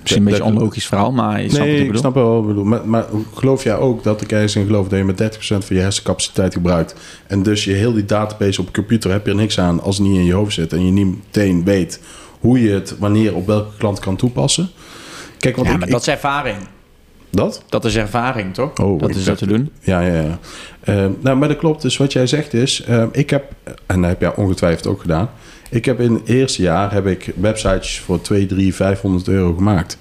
S1: Misschien een beetje
S2: Dat-
S1: onlogisch verhaal, maar je snapt wat
S2: nee,
S1: ik
S2: ik
S1: bedoel.
S2: snap wel wat ik bedoel. Maar, maar geloof jij ook dat ik ergens in geloof dat je met 30% van je hersencapaciteit gebruikt. En dus je heel die database op je computer heb je er niks aan als het niet in je hoofd zit. En je niet meteen weet hoe je het wanneer op welke klant kan toepassen. Kijk, want
S1: Ja,
S2: ik-
S1: maar
S2: ik-
S1: dat is ervaring.
S2: dat?
S1: Dat is ervaring, toch?
S2: Oh,
S1: dat
S2: ik
S1: is
S2: ben-
S1: dat te doen.
S2: Ja, ja, ja. Eh, nou, maar dat klopt. Dus wat jij zegt is, eh, ik heb, en dat heb jij ongetwijfeld ook gedaan. Ik heb in het eerste jaar heb ik websites voor 2, 3, 500 euro gemaakt.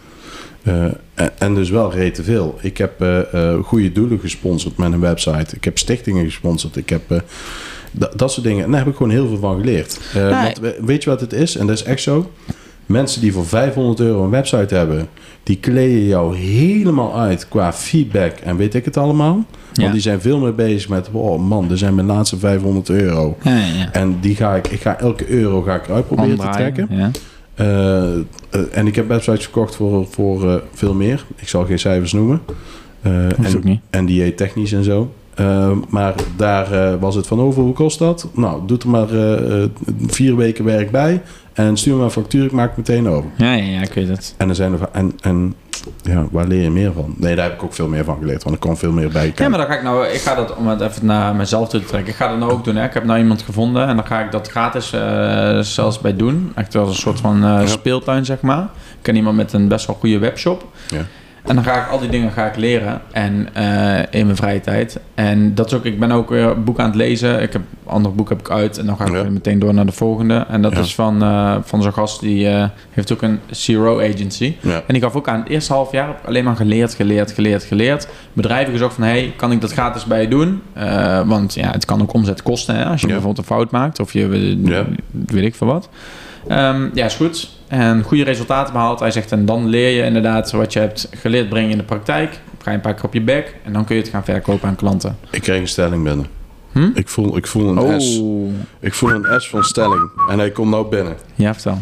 S2: Eh, en, en dus wel reet te veel. Ik heb eh, eh, goede doelen gesponsord met een website. Ik heb stichtingen gesponsord. Ik heb eh, da- dat soort dingen. En daar heb ik gewoon heel veel van geleerd. Eh,
S1: Nee.
S2: want we- weet je wat het is? En dat is echt zo. Mensen die voor 500 euro een website hebben, die kleden jou helemaal uit qua feedback en weet ik het allemaal.
S1: Ja.
S2: Want die zijn veel meer bezig met, oh man, dit zijn mijn laatste 500 euro.
S1: Ja, ja, ja.
S2: En die ga ik, ik ga elke euro ga ik eruit proberen te
S1: Omdraaien,
S2: trekken.
S1: Ja.
S2: Eh, eh, en ik heb websites verkocht voor, voor eh, veel meer. Ik zal geen cijfers noemen. Eh,
S1: Hoeft ook
S2: en,
S1: niet.
S2: en die heet technisch en zo. Eh, maar daar eh, was het van over, hoe kost dat? Nou, doe er maar eh, eh, vier weken werk bij. En stuur me een factuur, ik maak het meteen over.
S1: Ja, ja, ja, ik weet het.
S2: En, er zijn er, va- en, en ja, waar leer je meer van? Nee, daar heb ik ook veel meer van geleerd, want ik kon veel meer bij kijken.
S1: Ja, maar dan ga ik nou, ik ga dat om het even naar mezelf toe te trekken. Ik ga dat nou ook doen. Hè. Ik heb nou iemand gevonden en dan ga ik dat gratis eh, zelfs bij doen. Echt wel een soort van eh,
S2: Ja.
S1: speeltuin, zeg maar. Ik ken iemand met een best wel goede webshop.
S2: Ja.
S1: En dan ga ik al die dingen ga ik leren en, eh, in mijn vrije tijd. En dat is ook, ik ben ook weer een boek aan het lezen. Ik heb een ander boek heb ik uit en dan ga ik
S2: Ja.
S1: weer meteen door naar de volgende. En dat
S2: Ja.
S1: is van, eh, van zo'n gast die eh, heeft ook een CRO agency.
S2: Ja.
S1: En ik gaf ook aan het eerste half jaar heb ik alleen maar geleerd, geleerd, geleerd, geleerd. Bedrijven gezocht van, hey, kan ik dat gratis bij je doen? Eh, want ja, het kan ook omzet kosten hè, als je
S2: Ja.
S1: bijvoorbeeld een fout maakt of je, eh,
S2: Ja.
S1: weet ik veel wat. Ehm, ja, is goed. En goede resultaten behaald. Hij zegt, en dan leer je inderdaad wat je hebt geleerd brengen in de praktijk. Ga je een paar keer op je bek en dan kun je het gaan verkopen aan klanten.
S2: Ik kreeg een stelling binnen.
S1: Hm?
S2: Ik, voel, ik voel een
S1: Oh.
S2: S. Ik voel een S van stelling. En hij komt nou binnen.
S1: Ja, vertel.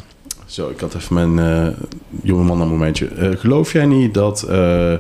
S2: Zo, ik had even mijn eh, jonge jongeman een momentje. Eh, geloof jij niet dat... eh,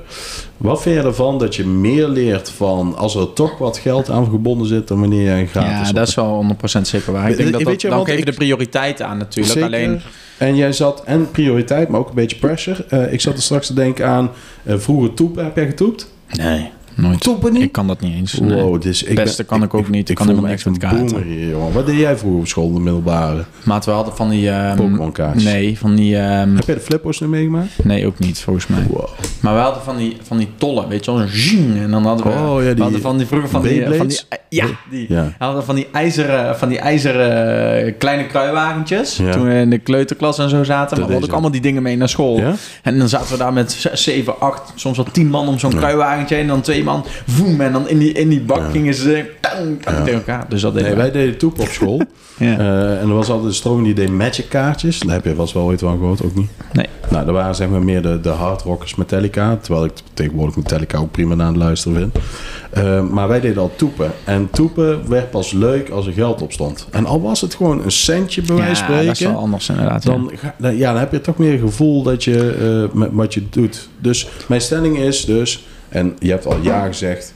S2: wat vind je ervan dat je meer leert van... als er toch wat geld aan gebonden zit... dan wanneer jij gratis...
S1: ja, dat is wel 100% zeker waar. Ik
S2: Weet-
S1: denk dat,
S2: weet
S1: dat
S2: je,
S1: dan
S2: want
S1: geef je
S2: ik-
S1: de prioriteiten aan natuurlijk.
S2: Zeker.
S1: Alleen,
S2: En jij zat en prioriteit, maar ook een beetje pressure. Eh, ik zat er straks te denken aan... eh, vroeger toepen, heb jij getoept?
S1: nee, nooit.
S2: Toepen
S1: Ik kan dat niet eens. nee.
S2: Wow, dus ik
S1: Pesten kan ik ook niet. Ik kan
S2: voel
S1: helemaal
S2: me
S1: niks met
S2: echt een
S1: kaarten.
S2: boomer hier, jongen. Wat deed jij vroeger op school, de middelbare?
S1: Maat, we hadden van die... ehm,
S2: Pokémon-kaartjes.
S1: nee, van die... ehm,
S2: Heb jij de flippo's nu meegemaakt?
S1: nee, ook niet, volgens mij.
S2: Wow.
S1: Maar we hadden van die, van die tollen, weet je wel. zo'n zing, En dan hadden we...
S2: Oh, ja,
S1: we
S2: die
S1: hadden van die vroeger van die... Van die
S2: Beyblades?
S1: ja, die...
S2: Ja.
S1: we hadden van die ijzeren, van die ijzeren eh, kleine kruiwagentjes.
S2: Ja.
S1: Toen we in de kleuterklas en zo zaten. maar we hadden
S2: deze.
S1: ook allemaal die dingen mee naar school.
S2: Ja?
S1: En dan zaten we daar met zes, zeven, acht, soms wel tien man om zo'n kruiwagentje. En dan twee man, voem. En dan in die, in die bak gingen ze eh, tang, tang, tegen elkaar. Dus dat deden
S2: Nee,
S1: wij.
S2: wij deden toep op school.
S1: Ja.
S2: Eh, en er was altijd een stroom die deed magic kaartjes. Daar heb je vast wel ooit van gehoord, ook niet?
S1: Nee.
S2: Nou, dat waren zeg maar meer de, de hardrockers Metallica. Terwijl ik tegenwoordig Metallica ook prima aan het luisteren vind. Eh, maar wij deden al toepen. En toepen werd pas leuk als er geld op stond. En al was het gewoon een centje bij wijze van
S1: Ja, dat is
S2: spreken.
S1: wel anders inderdaad. ja.
S2: Dan, ga- dan- ja, dan heb je toch meer gevoel dat je eh, met wat je doet. Dus mijn stelling is dus, en je hebt al ja gezegd,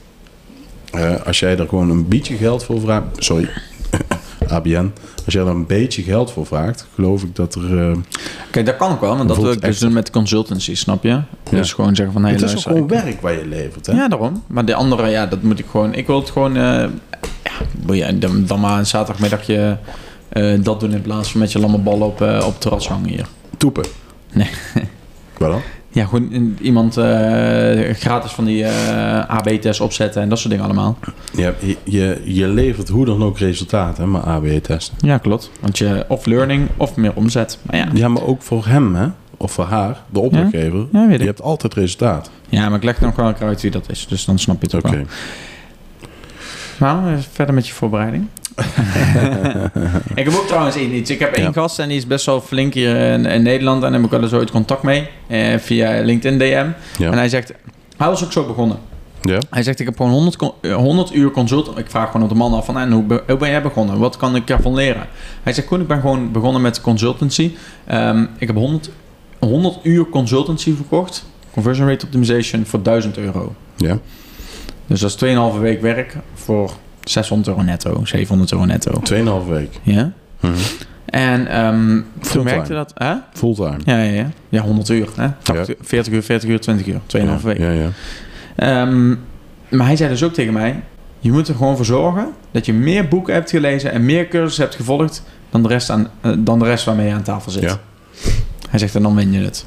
S2: eh, als jij er gewoon een beetje geld voor vraagt, sorry, ABN, als jij er een beetje geld voor vraagt, geloof ik dat er. eh,
S1: Kijk, dat kan ook wel, want dat wil ik dus doen met consultancy, snap je? Dus gewoon zeggen van, hey,
S2: het is ook
S1: luister,
S2: gewoon
S1: ik-
S2: werk waar je levert, hè?
S1: Ja, daarom. Maar de andere, ja, dat moet ik gewoon... Ik wil het gewoon... eh, ja, wil jij dan, dan maar een zaterdagmiddagje eh, dat doen in plaats van met je lamme bal op, eh, op het terras hangen hier.
S2: Toepen.
S1: Nee.
S2: Wel dan?
S1: Ja, gewoon in- iemand eh, gratis van die eh, AB-test opzetten en dat soort dingen allemaal.
S2: Je, je- je, je levert hoe dan ook resultaat, hè, maar E ABE-testen.
S1: Ja, klopt. Want je of learning of meer omzet. Maar ja.
S2: Ja, maar ook voor hem, hè? Of voor haar, de opdrachtgever.
S1: Ja, weet
S2: Je
S1: ik.
S2: hebt altijd resultaat.
S1: Ja, maar ik leg nog wel een keer uit wie dat is. Dus dan snap je het ook
S2: Oké.
S1: wel. Nou, eh, verder met je voorbereiding. ik heb ook trouwens één iets. Ik heb één
S2: Ja.
S1: gast en die is best wel flink hier in, in Nederland. En daar heb ik wel eens ooit contact mee eh, via LinkedIn DM.
S2: Ja.
S1: En hij zegt, hij was ook zo begonnen.
S2: Ja.
S1: Hij zegt, ik heb gewoon 100, con- eh, 100 uur consult. Ik vraag gewoon op de man af van, en hoe, be- hoe ben jij begonnen? Wat kan ik ervan leren? Hij zegt, Koen, ik ben gewoon begonnen met consultancy. Ehm, ik heb 100, 100 uur consultancy verkocht. Conversion rate optimization voor 1000 euro.
S2: Ja.
S1: Dus dat is 2,5 week werk voor 600 euro netto, 700 euro netto.
S2: Tweeënhalf week.
S1: Ja.
S2: Mhm.
S1: En ehm
S2: Fulltime.
S1: toen merkte dat... Hè?
S2: Fulltime.
S1: Ja, ja, ja. Ja, 100 uur. Hè? 80 40 uur, 40 uur, 20 uur. 2,5
S2: ja.
S1: week.
S2: Ja, ja.
S1: Ehm, maar hij zei dus ook tegen mij: je moet er gewoon voor zorgen dat je meer boeken hebt gelezen en meer cursussen hebt gevolgd dan de rest, aan, eh, dan de rest waarmee je aan tafel zit.
S2: Ja.
S1: Hij zegt: en dan win je het.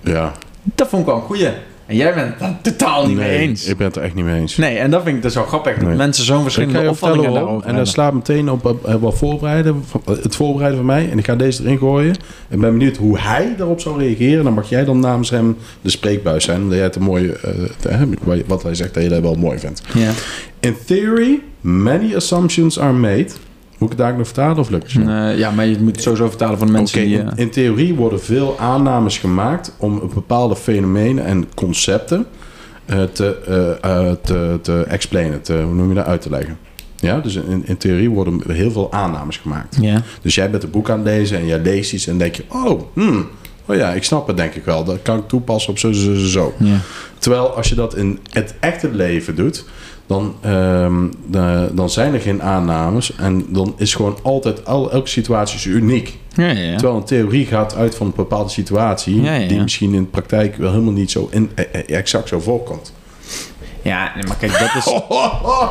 S2: ja.
S1: Dat vond ik wel een goeie. En jij bent het daar totaal niet mee
S2: Nee,
S1: eens.
S2: Ik ben het er echt niet mee eens.
S1: Nee, en dat vind ik dus wel grappig. Dat
S2: Nee.
S1: mensen zo'n
S2: Ik ga
S1: verschillende
S2: je vertellen
S1: opvattingen
S2: waarom.
S1: daarover
S2: En dat
S1: hebben.
S2: slaat meteen op, op, eh, wat voorbereiden. van- eh, Het voorbereiden van mij. En ik ga deze erin gooien. En ben benieuwd hoe hij daarop zou reageren. Dan mag jij dan namens hem de spreekbuis zijn. Omdat jij het een mooie... eh, te- hè, wat hij zegt dat je dat wel mooi vindt.
S1: Ja.
S2: In theory, many assumptions are made. Moet ik het daar ook nog vertalen of lukt het je?
S1: Eh, ja, maar je moet het sowieso vertalen van de mensen
S2: Oké,
S1: die...
S2: in,
S1: eh,
S2: in theorie worden veel aannames gemaakt om bepaalde fenomenen en concepten eh, te, eh, eh, te, te explainen, te, hoe noem je dat, uit te leggen. Ja, dus in, in theorie worden heel veel aannames gemaakt.
S1: ja.
S2: Dus jij bent een boek aan het lezen en jij leest iets en denk je, oh, hmm, oh ja, ik snap het denk ik wel. Dat kan ik toepassen op zo, zo, zo, zo.
S1: Ja.
S2: Terwijl als je dat in het echte leven doet, dan, ehm, de- dan zijn er geen aannames en dan is gewoon altijd, al, elke situatie is uniek.
S1: Ja, ja, ja.
S2: Terwijl een theorie gaat uit van een bepaalde situatie
S1: Ja, ja,
S2: die
S1: ja.
S2: misschien in de praktijk wel helemaal niet zo in, eh, eh, exact zo voorkomt.
S1: Ja, nee, maar kijk, dat is...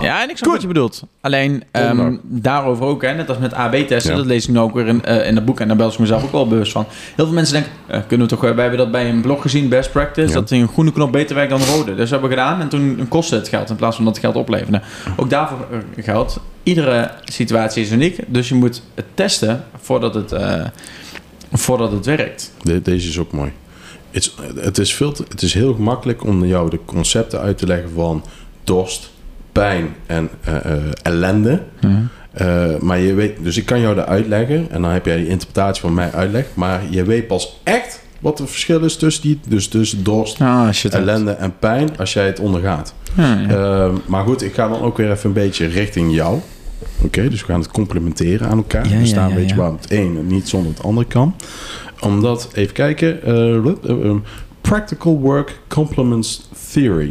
S1: Ja, en ik snap
S2: Goed.
S1: wat je bedoelt. Alleen ehm,
S2: Donderdag.
S1: daarover ook, hè, net als met AB-testen,
S2: Ja.
S1: dat lees ik nu ook weer in, eh, in dat boek en daar ben ik mezelf ook wel bewust van. Heel veel mensen denken, eh, kunnen we toch, eh, we hebben dat bij een blog gezien, best practice,
S2: Ja.
S1: dat een groene knop beter werkt dan een rode. Dus dat hebben we gedaan en toen kostte het geld in plaats van dat het geld opleverde. Ook daarvoor eh, geldt, iedere situatie is uniek, dus je moet het testen voordat het, eh, voordat het werkt.
S2: De- deze is ook mooi. Het is- het, is veel te- het is heel gemakkelijk om jou de concepten uit te leggen van dorst, pijn en eh, eh, ellende. Eh, maar je weet, dus ik kan jou dat uitleggen en dan heb jij die interpretatie van mij uitleg. Maar je weet pas echt wat het verschil is tussen die, dus tussen dorst,
S1: Ah, shit.
S2: ellende en pijn als jij het ondergaat.
S1: Ja, ja.
S2: Ehm, maar goed, ik ga dan ook weer even een beetje richting jou. Oké, dus we gaan het complementeren aan elkaar.
S1: Ja,
S2: we
S1: ja,
S2: staan
S1: ja,
S2: een beetje
S1: ja.
S2: waarom het een niet zonder het ander kan. Omdat, even kijken. eh, rup, eh, eh, practical work complements theory.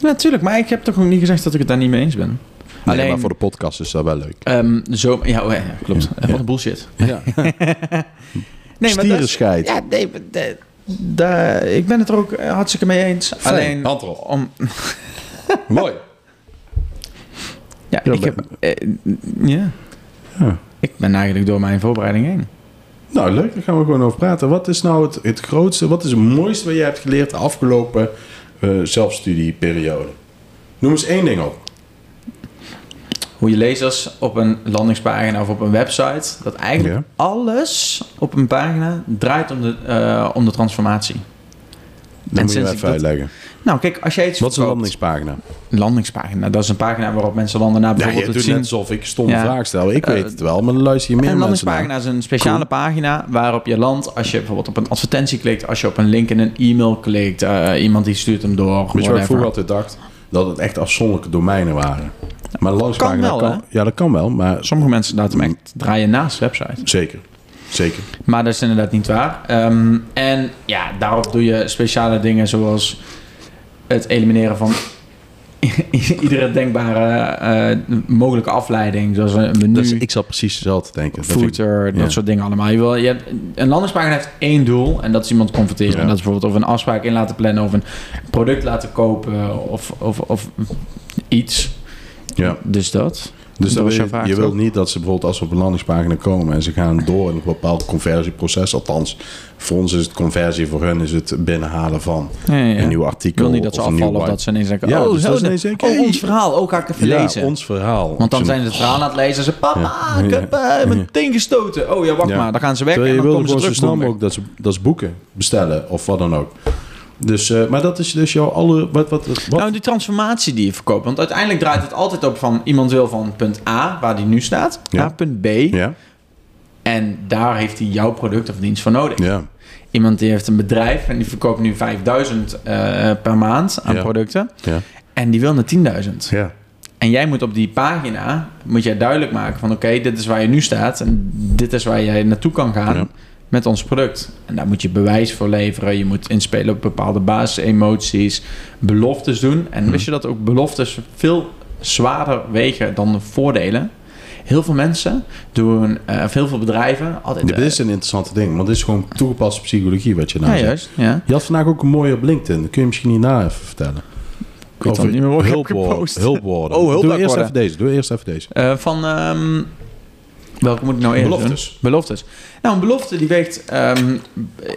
S2: Nee,
S1: Natuurlijk, maar ik heb toch ook niet gezegd dat ik het daar niet mee eens ben.
S2: maar voor de podcast is dat wel leuk.
S1: Ehm, zo, ja, oh ja, ja, klopt.
S2: Ja.
S1: Eh, Wat een bullshit.
S2: Ja.
S1: Nee, maar dat is-
S2: Stierenscheid.
S1: ja, nee, maar de- de- ik ben het er ook eh, hartstikke mee eens.
S2: Fijn,
S1: Alleen
S2: hand erop.
S1: om,
S2: Mooi.
S1: ja,
S2: Ja,
S1: ik
S2: maar-
S1: heb, eh, ja,
S2: Ja.
S1: ik ben eigenlijk door mijn voorbereiding heen.
S2: Nou, leuk. Daar gaan we gewoon over praten. Wat is nou het, het grootste, wat is het mooiste wat jij hebt geleerd de afgelopen eh, zelfstudieperiode? Noem eens één ding op.
S1: Hoe je lezers op een landingspagina of op een website, dat eigenlijk
S2: Ja.
S1: alles op een pagina draait om de, eh, om de transformatie.
S2: Dan moet je
S1: sinds
S2: me
S1: ik
S2: even
S1: dat-
S2: uitleggen.
S1: Nou, kijk, als jij iets
S2: Wat is een
S1: verkoopt-
S2: landingspagina?
S1: landingspagina? Dat is een pagina waarop mensen landen naar
S2: Ja,
S1: bijvoorbeeld
S2: je
S1: het
S2: doet
S1: zien.
S2: net alsof ik stomme
S1: Ja.
S2: vraag stel. Ik
S1: Eh,
S2: weet het wel, maar dan luister je meer
S1: En een
S2: mensen naar.
S1: landingspagina is een speciale pagina waarop je landt als je bijvoorbeeld op een advertentie klikt, als je op een link in een e-mail klikt, eh, iemand die stuurt hem door.
S2: Weet je wat ik
S1: whatever.
S2: vroeger altijd dacht? Dat het echt afzonderlijke domeinen waren. Maar een landingspagina
S1: wel,
S2: kan, Ja, dat kan wel, maar
S1: Sommige mensen laten hem echt draaien naast de website.
S2: zeker. Zeker.
S1: Maar dat is inderdaad niet waar. Ehm, en ja, daarop doe je speciale dingen zoals het elimineren van iedere denkbare eh, mogelijke afleiding. Zoals een menu.
S2: Dat is, Dus ik zat precies hetzelfde te denken. Dat vind ik-
S1: footer, dat
S2: ja.
S1: soort dingen allemaal. Je wil, je hebt, een landingspagina heeft één doel en dat is iemand confronteren.
S2: Ja.
S1: En dat is bijvoorbeeld of een afspraak in laten plannen of een product laten kopen of, of, of iets.
S2: ja.
S1: Dus dat.
S2: Dus
S1: Dat
S2: dat
S1: was
S2: wil
S1: jouw
S2: je,
S1: vraag,
S2: je
S1: toch?
S2: wilt niet dat ze bijvoorbeeld als ze op een landingspagina komen en ze gaan door in een bepaald conversieproces. Althans, voor ons is het conversie, voor hun is het binnenhalen van
S1: Ja, ja, ja.
S2: een nieuw
S1: Ik
S2: artikel.
S1: wil niet dat ze
S2: of een nieuw
S1: afvallen of dat ze
S2: white-
S1: ineens denken,
S2: Ja,
S1: oh,
S2: dus
S1: zo,
S2: dat is
S1: de-
S2: ineens denk
S1: oh,
S2: ik, hey.
S1: ons verhaal, ook ga ik even lezen.
S2: Ja, ons verhaal.
S1: Want dan
S2: Ze-
S1: zijn ze het verhaal aan het lezen. Ze, papa, ik
S2: Ja.
S1: heb eh, mijn teen gestoten. Oh ja, wacht
S2: Ja.
S1: maar. Dan gaan ze weg
S2: Terwijl
S1: en
S2: je
S1: dan
S2: wilde
S1: komen ze
S2: gewoon zo
S1: terug.
S2: snel mogelijk dat ze, dat ze boeken bestellen of wat dan ook. Dus, eh, maar dat is dus jouw alle... Wat, wat, wat,
S1: Nou, die transformatie die je verkoopt. Want uiteindelijk draait het altijd op van... iemand wil van punt A, waar die nu staat...
S2: Ja.
S1: naar punt B.
S2: ja,
S1: En daar heeft hij jouw product of dienst voor nodig.
S2: ja,
S1: Iemand die heeft een bedrijf en die verkoopt nu 5000 eh, per maand aan
S2: Ja.
S1: producten.
S2: ja,
S1: En die wil naar 10.000.
S2: ja.
S1: En jij moet op die pagina moet jij duidelijk maken van oké, dit is waar je nu staat. En dit is waar jij naartoe kan gaan.
S2: Ja.
S1: met ons product. En daar moet je bewijs voor leveren. Je moet inspelen op bepaalde basisemoties. Beloftes doen. En wist je dat ook beloftes veel zwaarder wegen dan de voordelen? Heel veel mensen doen, eh, of heel veel bedrijven, altijd...
S2: Dit
S1: eh,
S2: is een interessante ding, want dit is gewoon toegepaste psychologie wat je nou
S1: ja,
S2: zegt.
S1: juist. Ja.
S2: Je had vandaag ook een mooie op LinkedIn. Dat kun je misschien hierna even vertellen.
S1: Ik weet dan niet meer wat ik heb gepost.
S2: hulpwoorden.
S1: Oh, hulpwoorden.
S2: Doe eerst even deze. Doe eerst even deze.
S1: Eh, van, ehm, welke moet ik nou eerst
S2: Beloftes.
S1: doen? Beloftes. Nou, een belofte die weegt, ehm,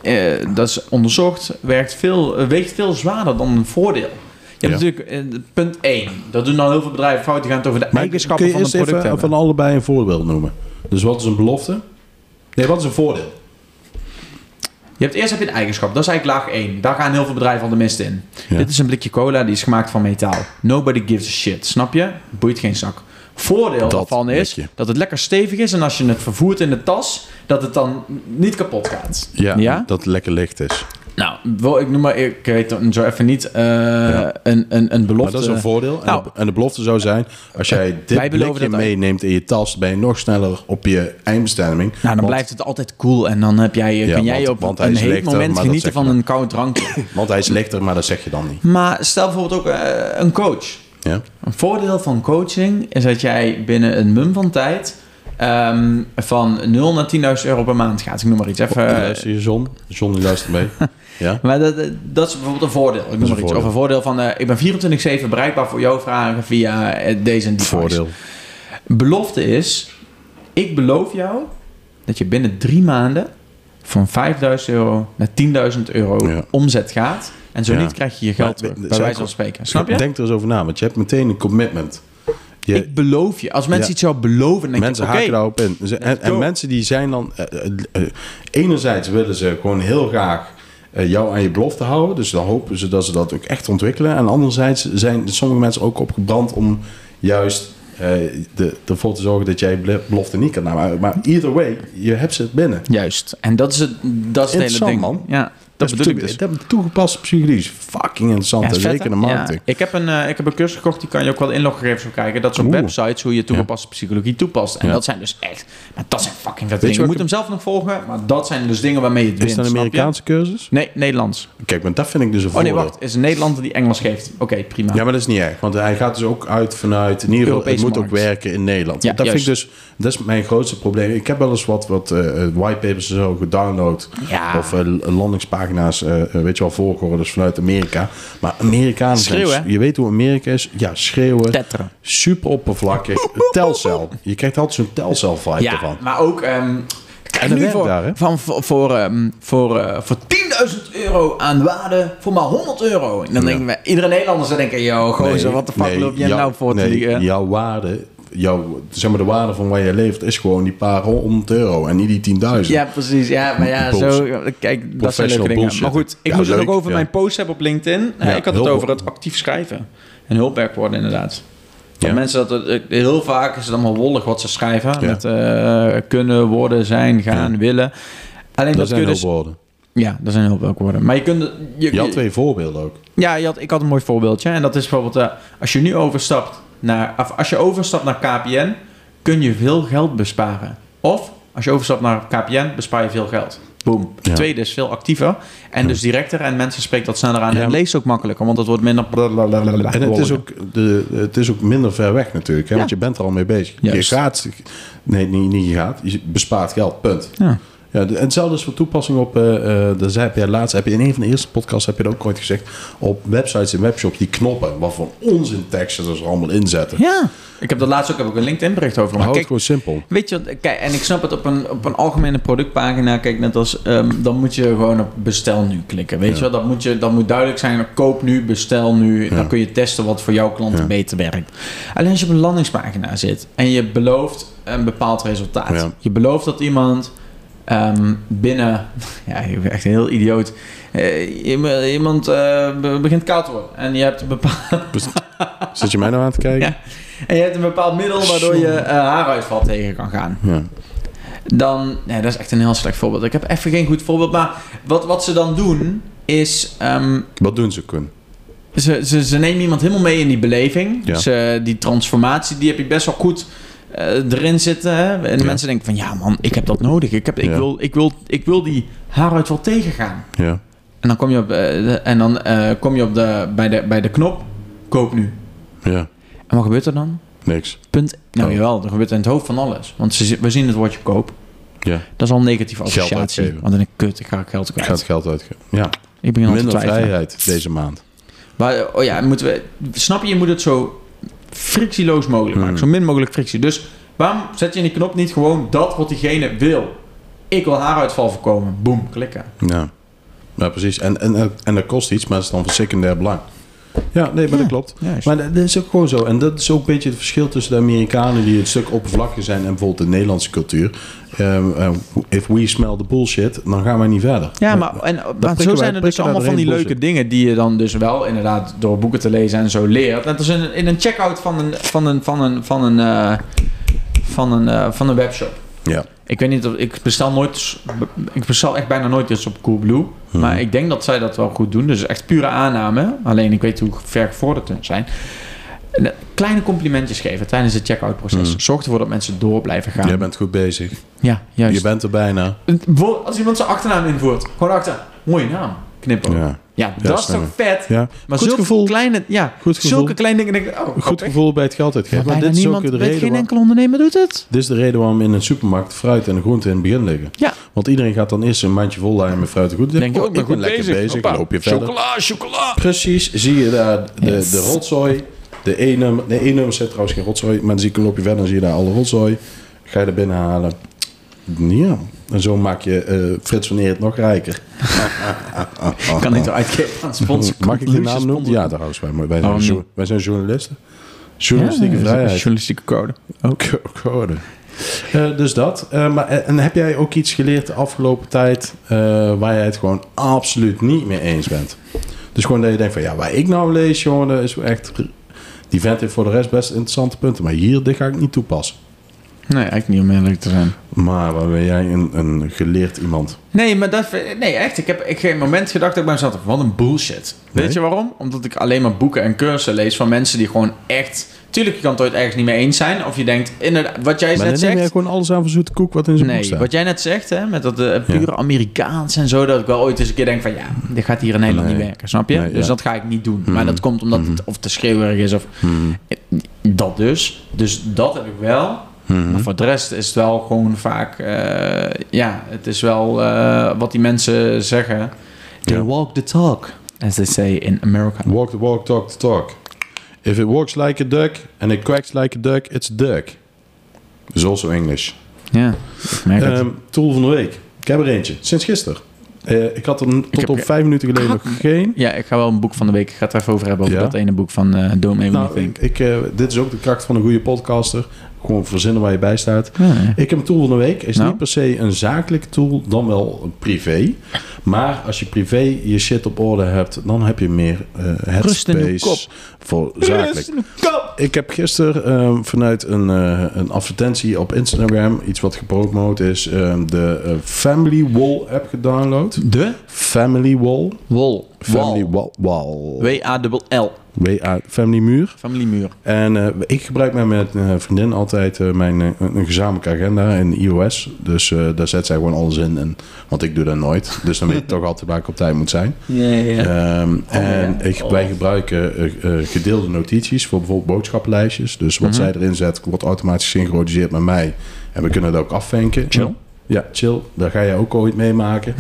S1: eh, dat is onderzocht, werkt veel, eh, weegt veel zwaarder dan een voordeel. Je hebt
S2: Ja.
S1: natuurlijk eh, punt 1. Dat doen dan heel veel bedrijven fout. Die gaan het over de
S2: Maar kun
S1: eigenschappen
S2: je
S1: van een
S2: eerst
S1: product
S2: even
S1: hebben.
S2: van allebei een voorbeeld noemen? Dus wat is een belofte? Nee, wat is een voordeel?
S1: Je hebt eerst heb je een eigenschap. Dat is eigenlijk laag 1. Daar gaan heel veel bedrijven al de mist in.
S2: Ja.
S1: Dit is een blikje cola, die is gemaakt van metaal. Nobody gives a shit, snap je? Boeit geen zak. Voordeel
S2: Dat
S1: daarvan is
S2: blikje.
S1: dat het lekker stevig is en als je het vervoert in de tas, dat het dan niet kapot gaat.
S2: dat het lekker licht is.
S1: Nou, wel, ik noem maar, ik weet dan zo even niet, eh, een, een, een belofte.
S2: Maar dat is een voordeel. En,
S1: Nou.
S2: de, en de belofte zou zijn, als jij
S1: Wij
S2: dit
S1: beloven
S2: blikje
S1: dat ook.
S2: meeneemt in je tas, ben je nog sneller op je eindbestemming.
S1: nou, dan
S2: Want-
S1: blijft het altijd cool en dan heb jij,
S2: Ja,
S1: kun jij
S2: want-
S1: op
S2: want hij
S1: een
S2: is
S1: heet
S2: lichter,
S1: moment
S2: maar dat
S1: genieten
S2: zeg
S1: van
S2: je
S1: een koud drankje.
S2: Want hij is lichter, maar dat zeg je dan niet.
S1: maar stel bijvoorbeeld ook eh, een coach.
S2: Ja?
S1: Een voordeel van coaching is dat jij binnen een mum van tijd ehm, van 0 naar 10.000 euro per maand gaat. Ik noem maar iets. Even, eh,
S2: luister je, John? John, die luistert mee. ja?
S1: maar dat, dat is bijvoorbeeld een voordeel. Ik noem maar
S2: een
S1: iets. Of
S2: voordeel.
S1: een voordeel van eh, ik ben 24-7 bereikbaar voor jouw vragen via eh, deze en die
S2: Voordeel.
S1: Belofte is, ik beloof jou dat je binnen drie maanden van 5.000 euro naar 10.000 euro
S2: Ja.
S1: omzet gaat. En zo
S2: Ja.
S1: niet krijg je je geld
S2: Maar,
S1: terug,
S2: eh,
S1: bij
S2: zou
S1: wijze
S2: ik-
S1: van spreken. Snap je?
S2: Denk er eens over na, want je hebt meteen een commitment. Je,
S1: ik beloof je. Als mensen
S2: Ja.
S1: iets jou beloven, dan denk je,
S2: mensen
S1: oké,
S2: haken daarop in. Ze- en, en
S1: go.
S2: mensen die zijn dan... eh, eh, eh, enerzijds willen ze gewoon heel graag eh, jou aan je belofte houden. Dus dan hopen ze dat ze dat ook echt ontwikkelen. En anderzijds zijn sommige mensen ook opgebrand om juist... eh, de, ervoor te zorgen dat jij je bel- belofte niet kan namen. Maar either way, je hebt ze binnen.
S1: Juist. En dat is het, dat is het hele
S2: Interessant,
S1: ding.
S2: man.
S1: Ja, dat, bedoel ik
S2: toe-
S1: dus.
S2: Dat heb ik toegepast op psychologie. Is fucking interessant.
S1: Ja, is
S2: en
S1: vet,
S2: zeker in de
S1: hè?
S2: marketing.
S1: Ja. Ik, heb een, eh, ik heb een cursus gekocht, die kan je ook wel inloggegevens op kijken. Dat is op
S2: Oeh.
S1: websites hoe je toegepaste psychologie toepast. En
S2: Ja.
S1: dat zijn dus echt... Maar dat zijn fucking vet
S2: je
S1: dingen. Je
S2: wat
S1: moet
S2: ik-
S1: hem zelf nog volgen, maar dat zijn dus dingen waarmee je het
S2: Is
S1: wint.
S2: dat een
S1: snap je?
S2: Amerikaanse cursus?
S1: Nee, Nederlands.
S2: Kijk, want dat vind ik dus een
S1: Oh nee,
S2: voordeel.
S1: wacht. is een Nederlander die Engels geeft. Oké, prima.
S2: Ja, maar dat is niet erg. Want hij gaat dus ook uit vanuit... In ieder geval, het
S1: Europese
S2: moet ook
S1: markt.
S2: werken in Nederland.
S1: Ja,
S2: dat
S1: juist.
S2: vind ik dus... Dat is mijn grootste probleem. Ik heb wel eens wat, wat eh, whitepapers en zo gedownload.
S1: Ja.
S2: Of eh, landingspagina's, eh, eh, weet je wel, volgorde. Dus vanuit Amerika. Maar Amerikanen... zijn-
S1: Schreeuwen, hè?
S2: Je weet hoe Amerika is. Ja, schreeuwen.
S1: Tetteren.
S2: Super oppervlakkig. Telcel. Je krijgt altijd zo'n telcel-vibe
S1: Ja,
S2: ervan.
S1: maar ook... ehm
S2: dat
S1: Kijk nu
S2: werkt
S1: voor,
S2: daar, hè?
S1: van, voor, voor, ehm, voor, eh, voor 10.000 euro aan waarde voor maar 100 euro. En dan denken we, iedere Nederlander zou denken, yo, gozer, Oh, wat de fuck
S2: nee,
S1: loop jij
S2: jou-
S1: nou voor
S2: nee,
S1: te liegen?
S2: Jouw waarde, jouw, zeg maar de waarde van waar je leeft, is gewoon die paar honderd euro en niet die 10.000.
S1: Ja, precies. Ja, maar ja,
S2: Bullshit.
S1: zo. Kijk, dat zijn leuke
S2: Professional
S1: dingen.
S2: bullshit.
S1: Maar goed, ik
S2: Ja,
S1: moest het
S2: leuk,
S1: ook over
S2: ja.
S1: mijn post hebben op LinkedIn. Eh,
S2: Ja,
S1: ik had het
S2: hulp-
S1: over het actief schrijven. En hulpwerk worden, inderdaad. Want
S2: Ja.
S1: mensen, dat, het- heel vaak is het allemaal wollig wat ze schrijven.
S2: Ja.
S1: Met eh, kunnen, worden, zijn, gaan, willen. Alleen
S2: dat
S1: dat,
S2: zijn
S1: kun je dus...
S2: heel woorden.
S1: Ja, dat zijn hulpwerkwoorden. Maar je kunt... Je,
S2: Je had twee voorbeelden ook.
S1: Ja, je had, ik had een mooi voorbeeldje. En dat is bijvoorbeeld... eh, als je nu overstapt naar... Of als je overstapt naar KPN... kun je veel geld besparen. Of als je overstapt naar KPN... bespaar je veel geld. Boom.
S2: Ja.
S1: Tweede is veel actiever. En dus directer. En mensen spreekt dat sneller aan.
S2: Ja.
S1: En leest ook makkelijker. Want het wordt minder...
S2: En het is, ook de, het is ook minder ver weg natuurlijk, hè?
S1: Ja.
S2: want je bent er al mee bezig.
S1: Juist.
S2: Je gaat, nee, niet, niet je gaat, je bespaart geld, punt.
S1: Ja.
S2: Ja, de- en hetzelfde is voor toepassing op, eh eh dat zei heb jij laatst, heb je in een van de eerste podcasts, heb je dat ook ooit gezegd, op websites en webshops, die knoppen, wat voor onzin teksten ze er allemaal inzetten.
S1: Ja. Ik heb dat laatst ook, heb ik een LinkedIn bericht over. Maar
S2: Hou
S1: kijk,
S2: het gewoon simpel.
S1: Weet je, wat, kijk, en ik snap het op een, op een algemene productpagina. Kijk, net als ehm, dan moet je gewoon op bestel nu klikken. Weet je wel, dat moet, je, dat moet duidelijk zijn. Koop nu, bestel nu. Dan kun je testen wat voor jouw klant
S2: Ja.
S1: beter werkt. Alleen als je op een landingspagina zit en je belooft een bepaald resultaat.
S2: Ja.
S1: Je belooft dat iemand ehm, binnen. Ja, je bent echt heel idioot. Eh, iemand- iemand eh, be- begint koud te worden en je hebt een bepaald.
S2: Zit je mij nou aan te kijken?
S1: Ja. En je hebt een bepaald middel waardoor je eh, haaruitval tegen kan gaan
S2: Ja.
S1: dan... Nee, dat is echt een heel slecht voorbeeld. Ik heb even geen goed voorbeeld. Maar wat, wat ze dan doen, is... ehm,
S2: Wat doen ze, Koen?
S1: ze, ze, ze nemen iemand helemaal mee in die beleving.
S2: Ja.
S1: Ze, die transformatie, die heb je best wel goed eh, erin zitten. Hè? En de
S2: Ja.
S1: mensen denken van, ja man, ik heb dat nodig. Ik, heb, ik,
S2: Ja.
S1: wil, ik, wil, ik wil die haaruit wel tegengaan.
S2: Ja.
S1: En dan kom je, op, eh, de- en dan, eh, kom je op de, bij, de, bij de knop, koop nu.
S2: Ja.
S1: En wat gebeurt er dan?
S2: Niks.
S1: Punt. Nou
S2: Oh.
S1: jawel, er gebeurt in het hoofd van alles. Want ze, zi- we zien het woordje koop.
S2: Ja.
S1: Dat is al een negatieve
S2: Geld
S1: associatie.
S2: uitgeven.
S1: Want dan denk ik, kut, ik ga geld
S2: Ik
S1: kwijt.
S2: ga het geld uitgeven. Ja.
S1: Ik begin al te
S2: Minder
S1: twijfelen.
S2: vrijheid deze maand.
S1: Maar, oh ja, moeten we, snap je, je moet het zo frictieloos mogelijk maken.
S2: Mm.
S1: Zo min mogelijk frictie. Dus waarom zet je in die knop niet gewoon dat wat diegene wil? Ik wil haaruitval voorkomen. Boom, klikken.
S2: Ja. Ja, precies. En, en, en dat kost iets, maar dat is dan van secundair belang. Ja, nee, maar
S1: Ja.
S2: dat klopt.
S1: Juist.
S2: Maar dat, dat is ook gewoon zo. En dat is ook een beetje het verschil tussen de Amerikanen die een stuk oppervlakkiger zijn en bijvoorbeeld de Nederlandse cultuur. Ehm, ehm, if we smell the bullshit, dan gaan wij niet verder.
S1: ja, maar, en, maar
S2: prikken
S1: zo
S2: wij-
S1: zijn er dus
S2: prikken wij
S1: allemaal van
S2: er
S1: die
S2: een
S1: leuke
S2: bullshit.
S1: dingen die je dan dus wel inderdaad door boeken te lezen en zo leert. Net als in, een- in een checkout van een, van een, van een, van een, eh, van een, eh, van een webshop.
S2: Ja.
S1: Ik weet niet of ik bestel nooit. Ik bestel echt bijna nooit iets op Coolblue.
S2: Hmm.
S1: Maar ik denk dat zij dat wel goed doen. Dus echt pure aanname. Alleen ik weet hoe ver gevorderd hun zijn. En, eh, Kleine complimentjes geven tijdens het checkout proces.
S2: Hmm.
S1: Zorg ervoor dat mensen door blijven gaan.
S2: Jij bent goed bezig.
S1: Ja,
S2: Je
S1: juist.
S2: bent er bijna.
S1: Bijvoorbeeld Als iemand zijn achternaam invoert, gewoon achter. Mooie naam. Knippen. Ja,
S2: Ja.
S1: dat is toch
S2: stemmen.
S1: vet.
S2: ja.
S1: Maar
S2: Goed
S1: zulke
S2: gevoel.
S1: kleine, ja,
S2: Goed gevoel.
S1: zulke kleine dingen. Denk ik, oh,
S2: Een goed
S1: grappig.
S2: gevoel bij het geld
S1: Maar
S2: uitgeven.
S1: bijna
S2: maar dit is ook
S1: niemand,
S2: de
S1: weet
S2: reden
S1: geen
S2: waarom,
S1: enkel ondernemer doet het.
S2: dit is de reden waarom in een supermarkt fruit en groente in het begin liggen.
S1: Ja.
S2: Want iedereen gaat dan eerst een mandje vol laaien met fruit en groente.
S1: Denk je
S2: Oh,
S1: ook, ben
S2: ik ben
S1: goed
S2: lekker
S1: bezig.
S2: bezig.
S1: Hoppa.
S2: Loop je verder.
S1: Chocola, chocola.
S2: Precies, zie je daar de,
S1: Yes.
S2: de rotzooi. De E-nummer, nee, E-nummer zet trouwens geen rotzooi, maar dan zie ik een loopje verder en zie je daar alle rotzooi. Ga je er binnen halen. Ja, en zo maak je eh Frits van Eer het nog rijker.
S1: Kan ik eruit geven aan Oh. sponsor?
S2: Mag ik je naam noemen? Ja, trouwens, wij, wij, zijn,
S1: Oh,
S2: jo-
S1: nee.
S2: wij zijn journalisten. Journalistieke vrijheid.
S1: Journalistieke code.
S2: K- code. Eh, dus dat. Eh, maar, en heb jij ook iets geleerd de afgelopen tijd eh, waar jij het gewoon absoluut niet mee eens bent? Dus gewoon dat je denkt van ja, waar ik nou lees, jongen, dat is echt. Die vent heeft voor de rest best interessante punten, maar hier dit ga ik niet toepassen.
S1: Nee, eigenlijk niet om eerlijk te zijn.
S2: Maar waar ben jij een, een geleerd iemand?
S1: Nee, maar dat, vind- nee, echt. Ik heb ik geen moment gedacht dat ik bij mezelf dacht, wat een bullshit.
S2: Nee?
S1: Weet je waarom? Omdat ik alleen maar boeken en cursussen lees van mensen die gewoon echt... Tuurlijk, je kan het ooit ergens niet mee eens zijn. Of je denkt, inderdaad, wat jij
S2: Maar
S1: net
S2: dan neem jij
S1: zegt...
S2: gewoon alles aan van zoete koek wat in zijn boek
S1: Nee,
S2: staat.
S1: wat jij net zegt, hè, met dat eh, pure Amerikaans en zo, dat ik wel ooit eens een keer denk van, ja, dit gaat hier in Nederland
S2: Nee.
S1: niet werken, snap je?
S2: Nee,
S1: dus
S2: ja.
S1: dat ga ik niet doen. Maar dat komt omdat het of te schreeuwerig is of
S2: Hmm,
S1: dat dus. Dus dat heb ik wel.
S2: hmm.
S1: Maar voor de rest is het wel gewoon vaak... eh, ja, het is wel eh, wat die mensen zeggen. They
S2: Ja.
S1: walk the talk, as they say in America.
S2: Walk the walk, talk the talk. If it walks like a duck and it quacks like a duck, it's a duck. Is also English.
S1: Ja, ik merk het.
S2: Ehm, tool van de week. Ik heb er eentje. Sinds gisteren. Eh, ik had er n-
S1: heb
S2: tot op
S1: ge-
S2: vijf minuten geleden nog geen.
S1: Ja, ik ga wel een boek van de week. Ik ga het er even over hebben, over
S2: Ja?
S1: dat ene boek van eh Don't Make Me
S2: Nou,
S1: Think.
S2: ik, ik, eh, dit is ook de kracht van een goede podcaster. Gewoon verzinnen waar je bij staat.
S1: Ja, ja.
S2: Ik heb een tool van de week. Is
S1: Nou?
S2: niet per se een zakelijke tool, dan wel een privé. Maar als je privé je shit op orde hebt, dan heb je meer eh
S1: Rust in
S2: headspace
S1: uw kop.
S2: voor zakelijk. Ik heb gisteren eh, vanuit een, eh, een advertentie op Instagram, iets wat gepromoot is, eh, de eh, Family Wall app gedownload.
S1: De?
S2: Family Wall.
S1: Wol.
S2: Family Wall. wall.
S1: W-A-L-L.
S2: Way out. Family Muur.
S1: Familiemuur.
S2: En eh, ik gebruik met mijn eh, vriendin altijd eh, mijn, eh, een gezamenlijke agenda in iOS. Dus eh, daar zet zij gewoon alles in. En, want ik doe dat nooit. Dus dan weet ik toch altijd waar ik op tijd moet zijn.
S1: Ja, ja, Oh,
S2: Ehm, en
S1: ja.
S2: ik, wij gebruiken eh, eh, gedeelde notities voor bijvoorbeeld boodschappenlijstjes. Dus
S1: Mhm.
S2: wat zij erin zet, wordt automatisch gesynchroniseerd met mij. En we kunnen dat ook afvinken.
S1: Chill.
S2: Ja, chill. Daar ga jij ook ooit meemaken.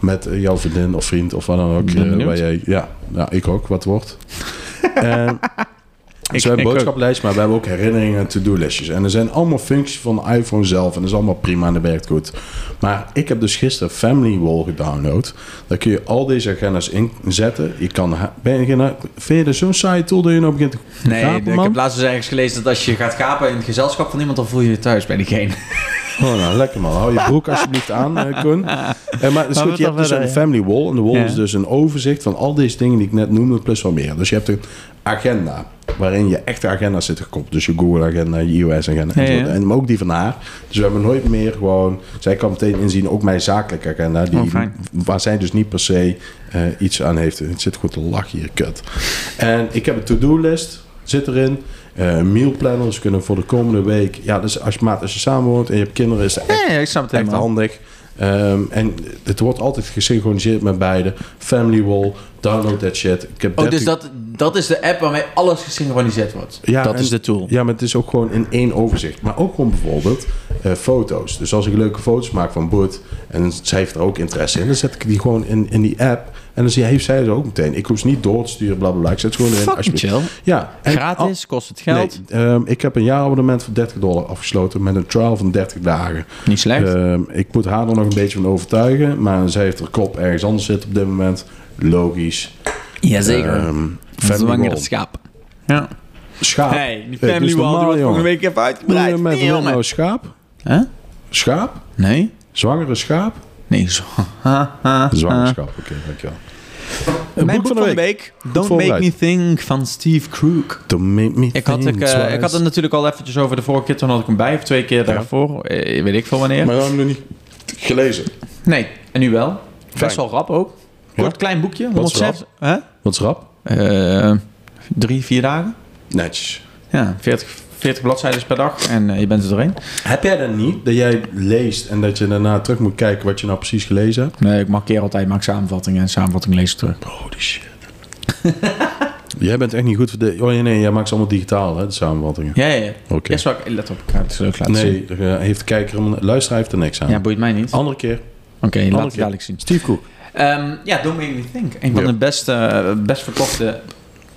S2: met eh, jouw vriendin of vriend of wat dan ook.
S1: Ben
S2: eh,
S1: benieuwd.
S2: waar jij, ja, nou, ik ook. Wat wordt. En
S1: Ik-
S2: dus we hebben
S1: ik
S2: een boodschappenlijst, maar we hebben ook herinneringen en to-do-listjes. En er zijn allemaal functies van de iPhone zelf. En dat is allemaal prima en dat werkt goed. Maar ik heb dus gisteren Family Wall gedownload. Daar kun je al deze agendas inzetten. Je kan... ha- Ben je, geen- vind je dat zo'n saaie tool dat je nou begint te
S1: Nee,
S2: gapen,
S1: ik
S2: man?
S1: heb laatst eens ergens gelezen dat als je gaat gapen in het gezelschap van iemand, dan voel je je thuis bij diegene.
S2: Oh, nou, lekker man. Hou je broek alsjeblieft aan, eh, Koen. Eh, maar het is
S1: Maar
S2: goed, je
S1: wat
S2: hebt dus
S1: dan
S2: een
S1: verder,
S2: family wall. En de wall
S1: Ja.
S2: is dus een overzicht van al deze dingen die ik net noemde, plus wat meer. Dus je hebt een agenda, waarin je echte agenda's zitten gekoppeld. Dus je Google-agenda, je iOS-agenda,
S1: Ja, ja.
S2: enzovoort. en maar ook die van haar. Dus we hebben nooit meer gewoon... Zij kan meteen inzien, ook mijn zakelijke agenda, die,
S1: Oh, fijn.
S2: waar zij dus niet per se eh, iets aan heeft. Het zit goed te lachen hier, kut. En ik heb een to-do-list. zit erin. Eh mealplanners kunnen voor de komende week... Ja, dus als je, maat, als je samenwoont en je hebt kinderen... is het echt,
S1: Nee, ik snap het
S2: echt
S1: helemaal.
S2: handig. Ehm, en het wordt altijd gesynchroniseerd met beide. Family Wall, download that shit. Ik heb
S1: Oh, dus
S2: 30
S1: dat, dat is de app waarmee alles gesynchroniseerd wordt.
S2: Ja,
S1: dat
S2: en-
S1: is de tool.
S2: Ja, maar het is ook gewoon in één overzicht. Maar ook gewoon bijvoorbeeld eh, foto's. Dus als ik leuke foto's maak van Boet en zij heeft er ook interesse in, dan zet ik die gewoon in, in die app. En dan zie, heeft zij er ook meteen. Ik hoef ze niet door te sturen, blablabla. Ik zet ze gewoon in.
S1: Fucking
S2: alsjeblieft.
S1: chill.
S2: Ja, en
S1: Gratis, kost het geld.
S2: Oh, Nee, ehm, ik heb een jaarabonnement van 30 dollar afgesloten met een trial van 30 dagen.
S1: Niet slecht.
S2: Ehm, ik moet haar er nog een beetje van overtuigen, maar zij heeft haar kop ergens anders zitten op dit moment. Logisch.
S1: Jazeker.
S2: Ehm,
S1: dat
S2: Family Wall.
S1: schaap. Ja.
S2: Schaap.
S1: Hey, die
S2: Het is
S1: Family Wall die
S2: dus normaal,
S1: wordt
S2: jongen.
S1: volgende week even
S2: Noem
S1: uitgebreid.
S2: je mij
S1: Nee,
S2: van mij nou
S1: jongen.
S2: een schaap?
S1: Huh?
S2: Schaap?
S1: Nee?
S2: Zwangere schaap?
S1: Nee, zo. Ha, ha, ha.
S2: Zwangerschap, oké, dankjewel. Een
S1: Ah. Mijn boek van de week. Don't Make
S2: voorbereid.
S1: Me Think van Steve Crook. Ik had, ik, eh, ik had het natuurlijk al eventjes over de vorige keer. Toen had ik hem bij of twee keer daarvoor. Eh, weet ik veel wanneer.
S2: Maar dat heb ik nog niet gelezen.
S1: Nee, en nu wel. Best
S2: Fijn.
S1: wel rap ook.
S2: Ja?
S1: Kort klein boekje.
S2: Wat is
S1: 160 Hè?
S2: Wat is rap?
S1: Eh, drie, vier dagen.
S2: Netjes.
S1: Ja, 40, 40 bladzijden per dag. En eh, je bent er doorheen.
S2: Heb jij dan niet dat jij leest en dat je daarna terug moet kijken wat je nou precies gelezen hebt?
S1: Nee, ik markeer altijd. Maak samenvattingen. En samenvatting lees ik terug.
S2: Holy shit. jij bent echt niet goed voor de... Oh nee, nee, jij maakt ze allemaal digitaal, hè, de samenvattingen.
S1: Ja, ja, ja.
S2: Oké.
S1: Eerst wel, eh, let op. Ik ga het zo ook laten zien.
S2: Nee, eh, heeft de kijker... helemaal- Luisteraar heeft er niks aan.
S1: Ja, boeit mij niet. Oké,
S2: Andere keer.
S1: laat
S2: Andere
S1: het
S2: keer.
S1: dadelijk zien.
S2: Steve Cook.
S1: Ehm, ja, Don't Make Me Think. Een van
S2: Ja.
S1: de beste, eh, best verkochte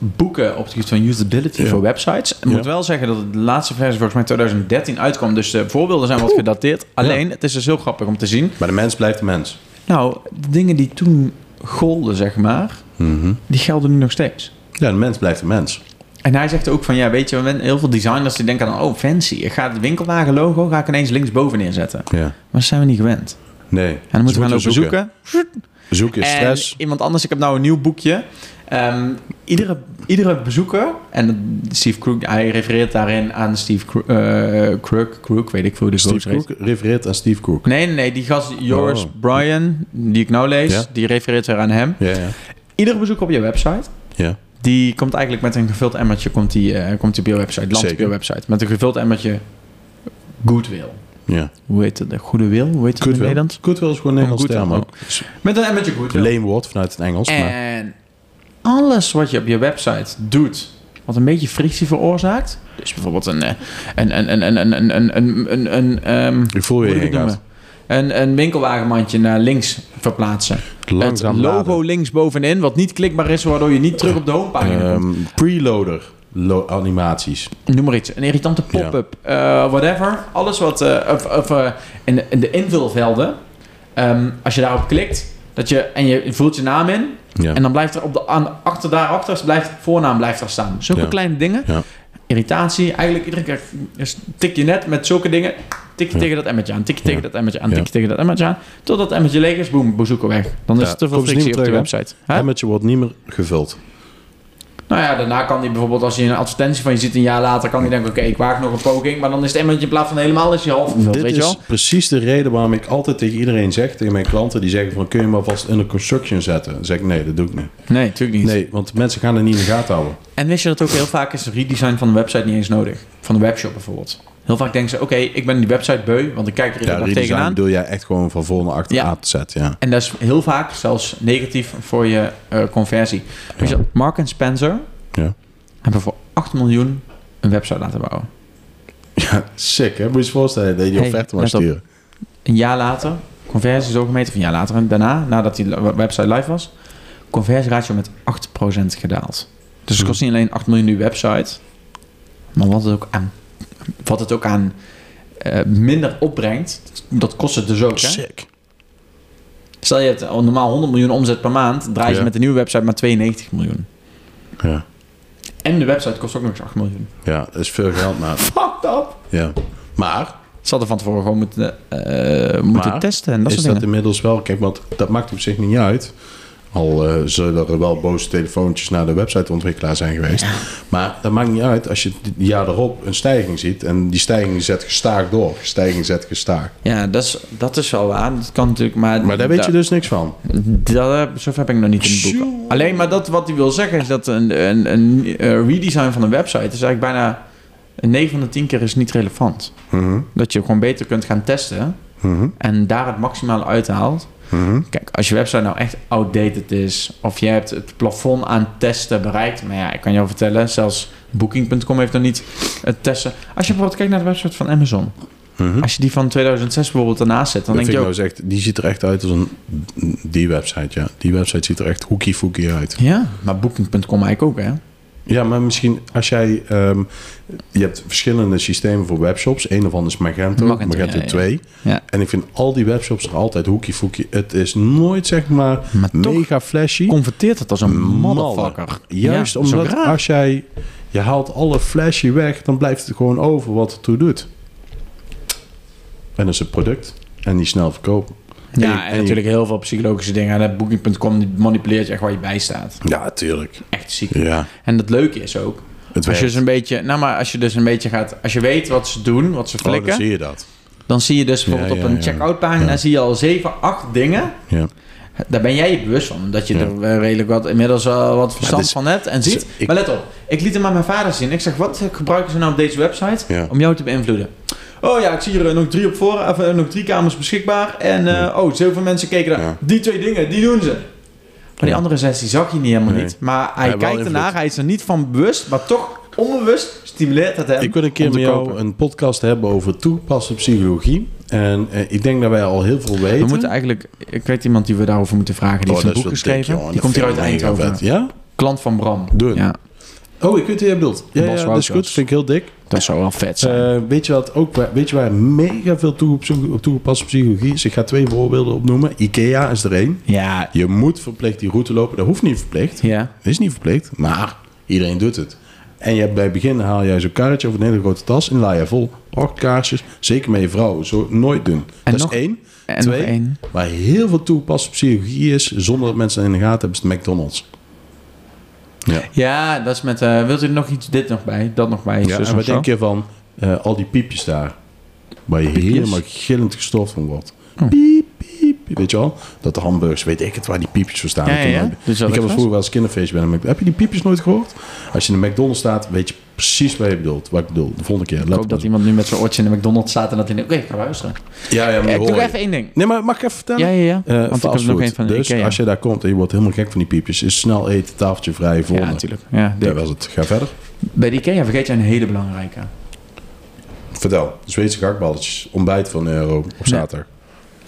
S1: boeken op het gebied van usability
S2: Ja.
S1: voor websites. Ik
S2: Ja.
S1: moet wel zeggen dat de laatste versie volgens mij 2013 uitkwam. Dus de voorbeelden zijn wat gedateerd. Alleen, het is dus heel grappig om te zien.
S2: Maar de mens blijft de mens.
S1: Nou, de dingen die toen golden, zeg maar,
S2: Mhm.
S1: die gelden nu nog steeds.
S2: Ja, de mens blijft de mens.
S1: En hij zegt ook van, ja, weet je, heel veel designers die denken aan, oh, fancy. Ik ga het winkelwagen logo ga ik ineens linksboven neerzetten.
S2: Ja.
S1: Maar dat zijn we niet gewend.
S2: Nee.
S1: En dan moeten we gaan lopen
S2: zoeken.
S1: zoeken.
S2: Zoeken is
S1: En
S2: stress.
S1: iemand anders, ik heb nou een nieuw boekje. Ehm, iedere, iedere bezoeker, en Steve Crook, hij refereert daarin aan Steve Cro- eh, Crook, Crook, weet ik veel hoe de
S2: Steve
S1: grootste
S2: Cook refereert aan Steve Cook.
S1: Nee, nee, nee, die gast Joris
S2: Oh.
S1: Bryan, die ik nou lees,
S2: Ja.
S1: die refereert weer aan hem.
S2: Ja, ja.
S1: Iedere bezoeker op je website,
S2: ja.
S1: die komt eigenlijk met een gevuld emmertje, komt die, eh, komt die op je website, landt op je
S2: Zeker.
S1: website. Met een gevuld emmertje goodwill.
S2: ja.
S1: Hoe heet het? Goede wil? Hoe heet het in
S2: Goodwill.
S1: Nederland?
S2: Goodwill is gewoon een Nederlands
S1: Goodwill.
S2: term ook.
S1: Met een emmertje goodwill.
S2: Een leenwoord vanuit het Engels. Maar
S1: En alles wat je op je website doet, wat een beetje frictie veroorzaakt. Dus bijvoorbeeld een. eh, een, een, een, een, een, een, een, een, een, een ehm, hoe
S2: ik voel hoe
S1: moet ik het
S2: je heen
S1: noemen?
S2: gaat.
S1: Een, een winkelwagenmandje naar links verplaatsen.
S2: Langzaam
S1: het logo
S2: laden.
S1: links bovenin, wat niet klikbaar is, waardoor je niet terug op de homepagina komt.
S2: Ehm, preloader. Lo- animaties.
S1: Noem maar iets. Een irritante pop-up. eh, whatever. Alles wat... eh, of, of, eh, in, de- in de invulvelden. ehm, als je daarop klikt. Dat je, en je voelt je naam in.
S2: Ja.
S1: En dan blijft er op de aan, achter daarachter blijft voornaam blijft daar staan. Zulke
S2: Ja.
S1: kleine dingen.
S2: Ja.
S1: Irritatie. Eigenlijk iedere keer is- tik je net met zulke dingen. Tik je
S2: Ja.
S1: tegen dat emmertje aan. Tik je tegen
S2: Ja.
S1: dat emmertje aan.
S2: Ja.
S1: Tik je tegen dat emmertje aan. Totdat het emmertje leeg is. Boem, bezoeken weg. Dan is
S2: Ja,
S1: het te veel
S2: komt ze niet
S1: frictie op de
S2: meer terug,
S1: website. Hè?
S2: Emmetje wordt niet meer gevuld.
S1: Nou ja, daarna kan die bijvoorbeeld als je een advertentie van je ziet een jaar later. Kan die denken, oké, ik waag nog een poging. Maar dan is het emmertje in plaats van helemaal is je half gevuld.
S2: Dit
S1: Weet je
S2: is
S1: wel?
S2: precies de reden waarom ik altijd tegen iedereen zeg, tegen mijn klanten, die zeggen van kun je maar vast under construction zetten. Dan zeg ik nee, dat doe ik niet.
S1: Nee, natuurlijk niet.
S2: Nee, want mensen gaan er niet in de gaten houden.
S1: En wist je dat ook heel vaak is redesign van de website niet eens nodig. Van de webshop bijvoorbeeld. Heel vaak denken ze, oké, ik ben die website beu. Want ik kijk er
S2: Ja,
S1: iedere dag
S2: redesign
S1: tegenaan.
S2: bedoel jij echt gewoon van voor naar achter
S1: Ja.
S2: A te zetten. Ja.
S1: En dat is heel vaak zelfs negatief voor je eh, conversie. Weet je, wat? Mark en Spencer
S2: Ja.
S1: hebben voor 8 miljoen een website laten bouwen.
S2: ja, sick hè. Moet je je voorstellen dat je die
S1: Hey,
S2: offerte maar
S1: let op.
S2: sturen.
S1: Een jaar later, conversie zo gemeten, of een jaar later en daarna, nadat die li- website live was, conversieratio met 8% gedaald. Dus
S2: Hm.
S1: het kost niet alleen 8 miljoen die website, maar wat het ook aan, wat het ook aan eh, minder opbrengt, dat kost het dus ook. Hè?
S2: Sick.
S1: Stel je hebt al normaal 100 miljoen omzet per maand, draai je
S2: Ja.
S1: met de nieuwe website maar 92 miljoen.
S2: Ja.
S1: En de website kost ook nog eens 8 miljoen.
S2: Ja, dat is veel geld, maar...
S1: Fucked up.
S2: Ja. Maar,
S1: Ze hadden van tevoren gewoon moeten, eh, moeten
S2: Maar,
S1: testen en dat
S2: is
S1: soort
S2: dat
S1: dingen.
S2: inmiddels wel... Kijk, want dat maakt op zich niet uit. Al eh, zullen er wel boze telefoontjes naar de websiteontwikkelaar zijn geweest. Maar dat maakt niet uit als je het jaar erop een stijging ziet. En die stijging zet gestaag door. Stijging zet gestaag.
S1: Ja, dat is, dat is wel waar. Dat kan natuurlijk, maar...
S2: Maar daar weet je
S1: da-
S2: dus niks van.
S1: Dat, heb- zover heb ik nog niet in het boek. Alleen maar dat, wat hij wil zeggen is dat een, een, een eh, redesign van een website is eigenlijk bijna... 9 van de 10 keer is niet relevant.
S2: Mhm,
S1: Dat je gewoon beter kunt gaan testen
S2: mhm,
S1: en daar het maximale uithaalt.
S2: mhm.
S1: Kijk, als je website nou echt outdated is, of je hebt het plafond aan testen bereikt, maar ja, ik kan jou vertellen, zelfs Booking.com heeft nog niet het testen. Als je bijvoorbeeld kijkt naar de website van Amazon,
S2: Mhm.
S1: als je die van 2006 bijvoorbeeld ernaast zet, dan
S2: Dat vind
S1: denk
S2: ik
S1: je
S2: nou
S1: ook,
S2: eens echt, die ziet er echt uit als een... Die website, ja. Die website ziet er echt hoekie-foekie uit.
S1: ja, maar Booking.com eigenlijk ook, hè?
S2: Ja, maar misschien als jij... ehm, je hebt verschillende systemen voor webshops. Een of ander is Magento,
S1: Magento,
S2: Magento,
S1: ja, ja.
S2: 2.
S1: Ja.
S2: En ik vind al die webshops er altijd hoekie-foekie. Het is nooit, zeg maar,
S1: Maar toch
S2: mega flashy.
S1: converteert het als een
S2: Malle.
S1: motherfucker.
S2: Juist
S1: Ja,
S2: omdat Ah,
S1: zo raar.
S2: als jij... Je haalt alle flashy weg, dan blijft het gewoon over wat het toe doet. En dat is het product. En die snel verkopen.
S1: Ja,
S2: en-
S1: en
S2: en-
S1: natuurlijk heel veel psychologische dingen. En Booking.com die manipuleert je echt waar je bij staat.
S2: Ja, tuurlijk.
S1: Echt ziek.
S2: Ja,
S1: En het leuke is ook,
S2: het
S1: als
S2: werkt.
S1: je dus een beetje, nou maar als je dus een beetje gaat, als je weet wat ze doen, wat ze
S2: Oh, dan
S1: flikken.
S2: zie je dat.
S1: Dan zie je dus bijvoorbeeld
S2: Ja,
S1: op
S2: ja,
S1: een
S2: ja.
S1: checkout pagina
S2: Ja.
S1: zie je al 7, 8 dingen.
S2: Ja.
S1: Daar ben jij je bewust van. Dat je
S2: Ja.
S1: er wel redelijk wat, inmiddels wel wat verstand
S2: dit is-
S1: van hebt en ziet.
S2: ik-
S1: maar let op, ik liet hem aan mijn vader zien. Ik zeg, wat gebruiken ze nou op deze website
S2: Ja.
S1: om jou te beïnvloeden? Oh ja, ik zie er eh, nog drie op voor, of, eh, nog drie kamers beschikbaar. En eh, oh, zoveel mensen keken daar.
S2: Ja.
S1: Die twee dingen, die doen ze. Maar die
S2: Ja.
S1: andere zes, die zag je niet helemaal
S2: Nee.
S1: niet. Maar hij
S2: Hij heeft wel
S1: kijkt ernaar,
S2: invloed.
S1: hij is er niet van bewust, maar toch onbewust stimuleert het hem.
S2: Ik wil een keer
S1: om te
S2: met jou
S1: kopen.
S2: een podcast hebben over toegepaste psychologie. En eh, ik denk dat wij al heel veel weten.
S1: We moeten eigenlijk, ik weet iemand die we daarover moeten vragen. Die
S2: Oh,
S1: heeft een
S2: dat is
S1: boek
S2: wel dik,
S1: geschreven.
S2: jongen.
S1: die
S2: Dat
S1: komt hier uit
S2: vind ik mega
S1: Eindhoven.
S2: vet. Ja?
S1: Klant van Bram.
S2: Doen.
S1: Ja,
S2: Oh, ik weet wie jij bedoelt.
S1: Bas
S2: Ja, ja, dat is
S1: Wouters.
S2: goed. vind ik heel dik.
S1: dat zou wel vet zijn.
S2: Eh, weet, je wat ook, waar- weet je waar mega veel toegep- toegepaste psychologie is? Ik ga twee voorbeelden opnoemen. IKEA is er één.
S1: ja.
S2: Je moet verplicht die route lopen. Dat hoeft niet verplicht.
S1: Ja.
S2: Dat is niet verplicht. Maar iedereen doet het. En je hebt bij het begin haal jij zo'n karretje of een hele grote tas en laai je vol. Acht kaarsjes. Zeker met je vrouw. Zo nooit doen. dat
S1: nog-
S2: is één.
S1: En
S2: Twee.
S1: nog één.
S2: Waar heel veel toegepaste psychologie is, zonder dat mensen het in de gaten hebben, is de McDonald's. Ja.
S1: Ja, dat is met. eh, wilt u er nog iets, dit nog bij, dat nog bij?
S2: ja
S1: zus
S2: en
S1: of
S2: wat
S1: zo?
S2: denk je van eh, al die piepjes daar? Waar je
S1: Piepjes?
S2: helemaal gillend gestoord van wordt.
S1: Oh.
S2: Piep, piep. Weet je wel? Dat de hamburgers, weet ik het, waar die piepjes voor staan.
S1: Ja,
S2: Ik heb
S1: ja, ja.
S2: nooit-
S1: Dus dat is
S2: ik heb het
S1: vast.
S2: vroeger wel eens kinderfeestje bij een McDonald's. Heb je die piepjes nooit gehoord? Als je in de McDonald's staat, weet je precies wat je bedoelt. Wat ik bedoel. De volgende keer.
S1: Ik
S2: Let
S1: hoop
S2: op.
S1: dat iemand nu met zijn oortje in de McDonald's staat en dat hij denkt: oké, ik ga luisteren.
S2: Ja, ja, maar
S1: Ja, ik
S2: hoor
S1: Eh, doe
S2: je.
S1: even één ding.
S2: Nee, maar mag ik even vertellen?
S1: Ja, ja, ja.
S2: Eh,
S1: Want ik heb er nog
S2: fastfood.
S1: één van de
S2: Dus
S1: Ikea.
S2: als je daar komt en je wordt helemaal gek van die piepjes, is snel eten, tafeltje vrij,
S1: ja,
S2: volgende.
S1: natuurlijk. Ja,
S2: Dat
S1: dit.
S2: was het. Ga verder.
S1: Bij de IKEA vergeet je een hele belangrijke.
S2: Vertel. Zweedse gehaktballetjes. Ontbijt van een euro op zaterdag.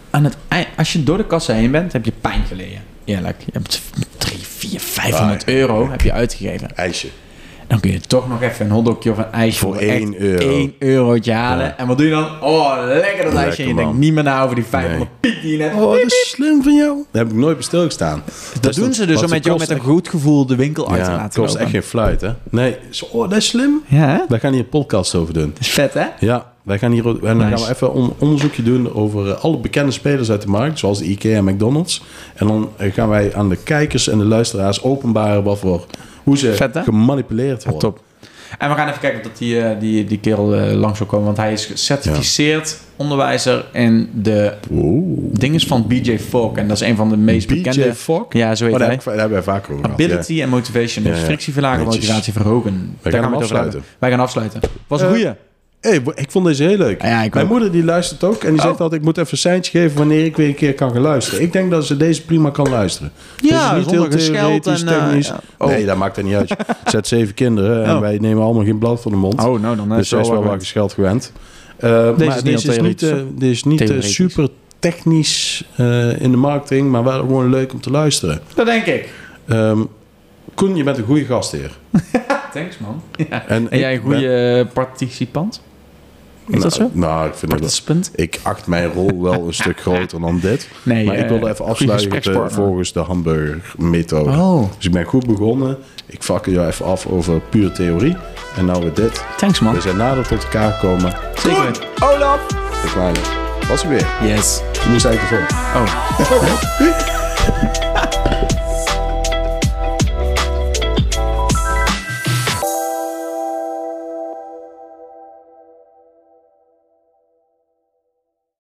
S1: Aan het eind, als je door de kassa heen bent, heb je pijn geleden. Eerlijk. Je hebt 3, 4, 500
S2: Ah, ja.
S1: euro heb je uitgegeven.
S2: IJsje.
S1: Dan kun je toch nog even een hotdogje of een ijsje
S2: Voor
S1: echt
S2: één euro.
S1: één eurotje halen. En wat doe je dan? Oh, lekker dat ijsje. En je
S2: man.
S1: denkt niet meer na over die 500 piek die je net...
S2: Oh, dat is slim van jou. Daar heb ik nooit bij stilgestaan.
S1: dat doen ze dus om met jou met een goed gevoel de winkel uit te
S2: Ja, het
S1: laten
S2: kost
S1: lopen.
S2: echt geen fluit, hè? Nee. Zo, Oh, dat is slim.
S1: Ja, hè?
S2: Wij gaan hier een podcast over doen.
S1: Dat is vet, hè?
S2: Ja, wij gaan hier en dan
S1: Nice.
S2: gaan we even een onderzoekje doen over eh, alle bekende spelers uit de markt, zoals de IKEA en McDonald's. En dan eh, gaan wij aan de kijkers en de luisteraars openbaren wat voor hoe ze
S1: Vet, hè?
S2: gemanipuleerd worden.
S1: Top. En we gaan even kijken of dat die, eh, die, die kerel eh, langs wil komen. Want hij is gecertificeerd onderwijzer in de
S2: Wow.
S1: dinges van BJ Fogg. En dat is een van de meest
S2: BJ
S1: bekende...
S2: Fogg?
S1: Ja, zo
S2: Oh,
S1: heet
S2: daar,
S1: hij.
S2: heb ik- daar hebben wij vaker over gehad.
S1: Ability en motivation. Dus
S2: Ja, ja.
S1: frictie verlagen,
S2: Netjes.
S1: motivatie verhogen. Daar
S2: gaan
S1: we het
S2: hem
S1: over hebben.
S2: afsluiten.
S1: Wij gaan afsluiten. Was een
S2: Eh,
S1: goeie.
S2: Ja. Hey, w- ik vond deze heel leuk.
S1: Ja, ja, ik
S2: Mijn
S1: ook.
S2: moeder die luistert ook en die zegt
S1: Oh.
S2: altijd, ik moet even een seintje geven wanneer ik weer een keer kan gaan luisteren. Ik denk dat ze deze prima kan luisteren.
S1: Ja,
S2: Dit is niet
S1: zonder
S2: heel
S1: gescheld
S2: theoretisch,
S1: en, eh,
S2: technisch.
S1: ja. Oh.
S2: Nee, dat maakt er niet uit. Zet zeven kinderen en
S1: Oh.
S2: wij nemen allemaal geen blad van de mond.
S1: Oh, nou dan.
S2: dus zij is wel wat gescheld gewend. Eh,
S1: Deze
S2: maar
S1: is niet
S2: deze
S1: heel
S2: is niet, eh,
S1: theoretisch,
S2: dit is niet eh,
S1: Theoretisch.
S2: super technisch eh, in de marketing, maar wel gewoon leuk om te luisteren.
S1: Dat denk ik.
S2: Ehm, Koen, je bent een goede gastheer.
S1: Thanks man.
S2: En,
S1: En jij
S2: ik
S1: een goede participant?
S2: ben-
S1: Is dat zo?
S2: Nou, nou, ik vind het wel-
S1: Participant?
S2: ik acht mijn rol wel een stuk groter dan dit.
S1: Nee,
S2: maar
S1: eh,
S2: ik wilde even
S1: goede
S2: afsluiten op de-
S1: gesprekspartner.
S2: volgens de Hamburg-methode.
S1: Oh,
S2: Dus ik ben goed begonnen. Ik fakkel jou even af over puur theorie. En nou weer dit.
S1: thanks man.
S2: We zijn nader tot elkaar gekomen.
S1: Zeker. weten. Olaf.
S2: Ik was hij weer.
S1: Yes.
S2: Nu sta ik ervoor.
S1: Oh.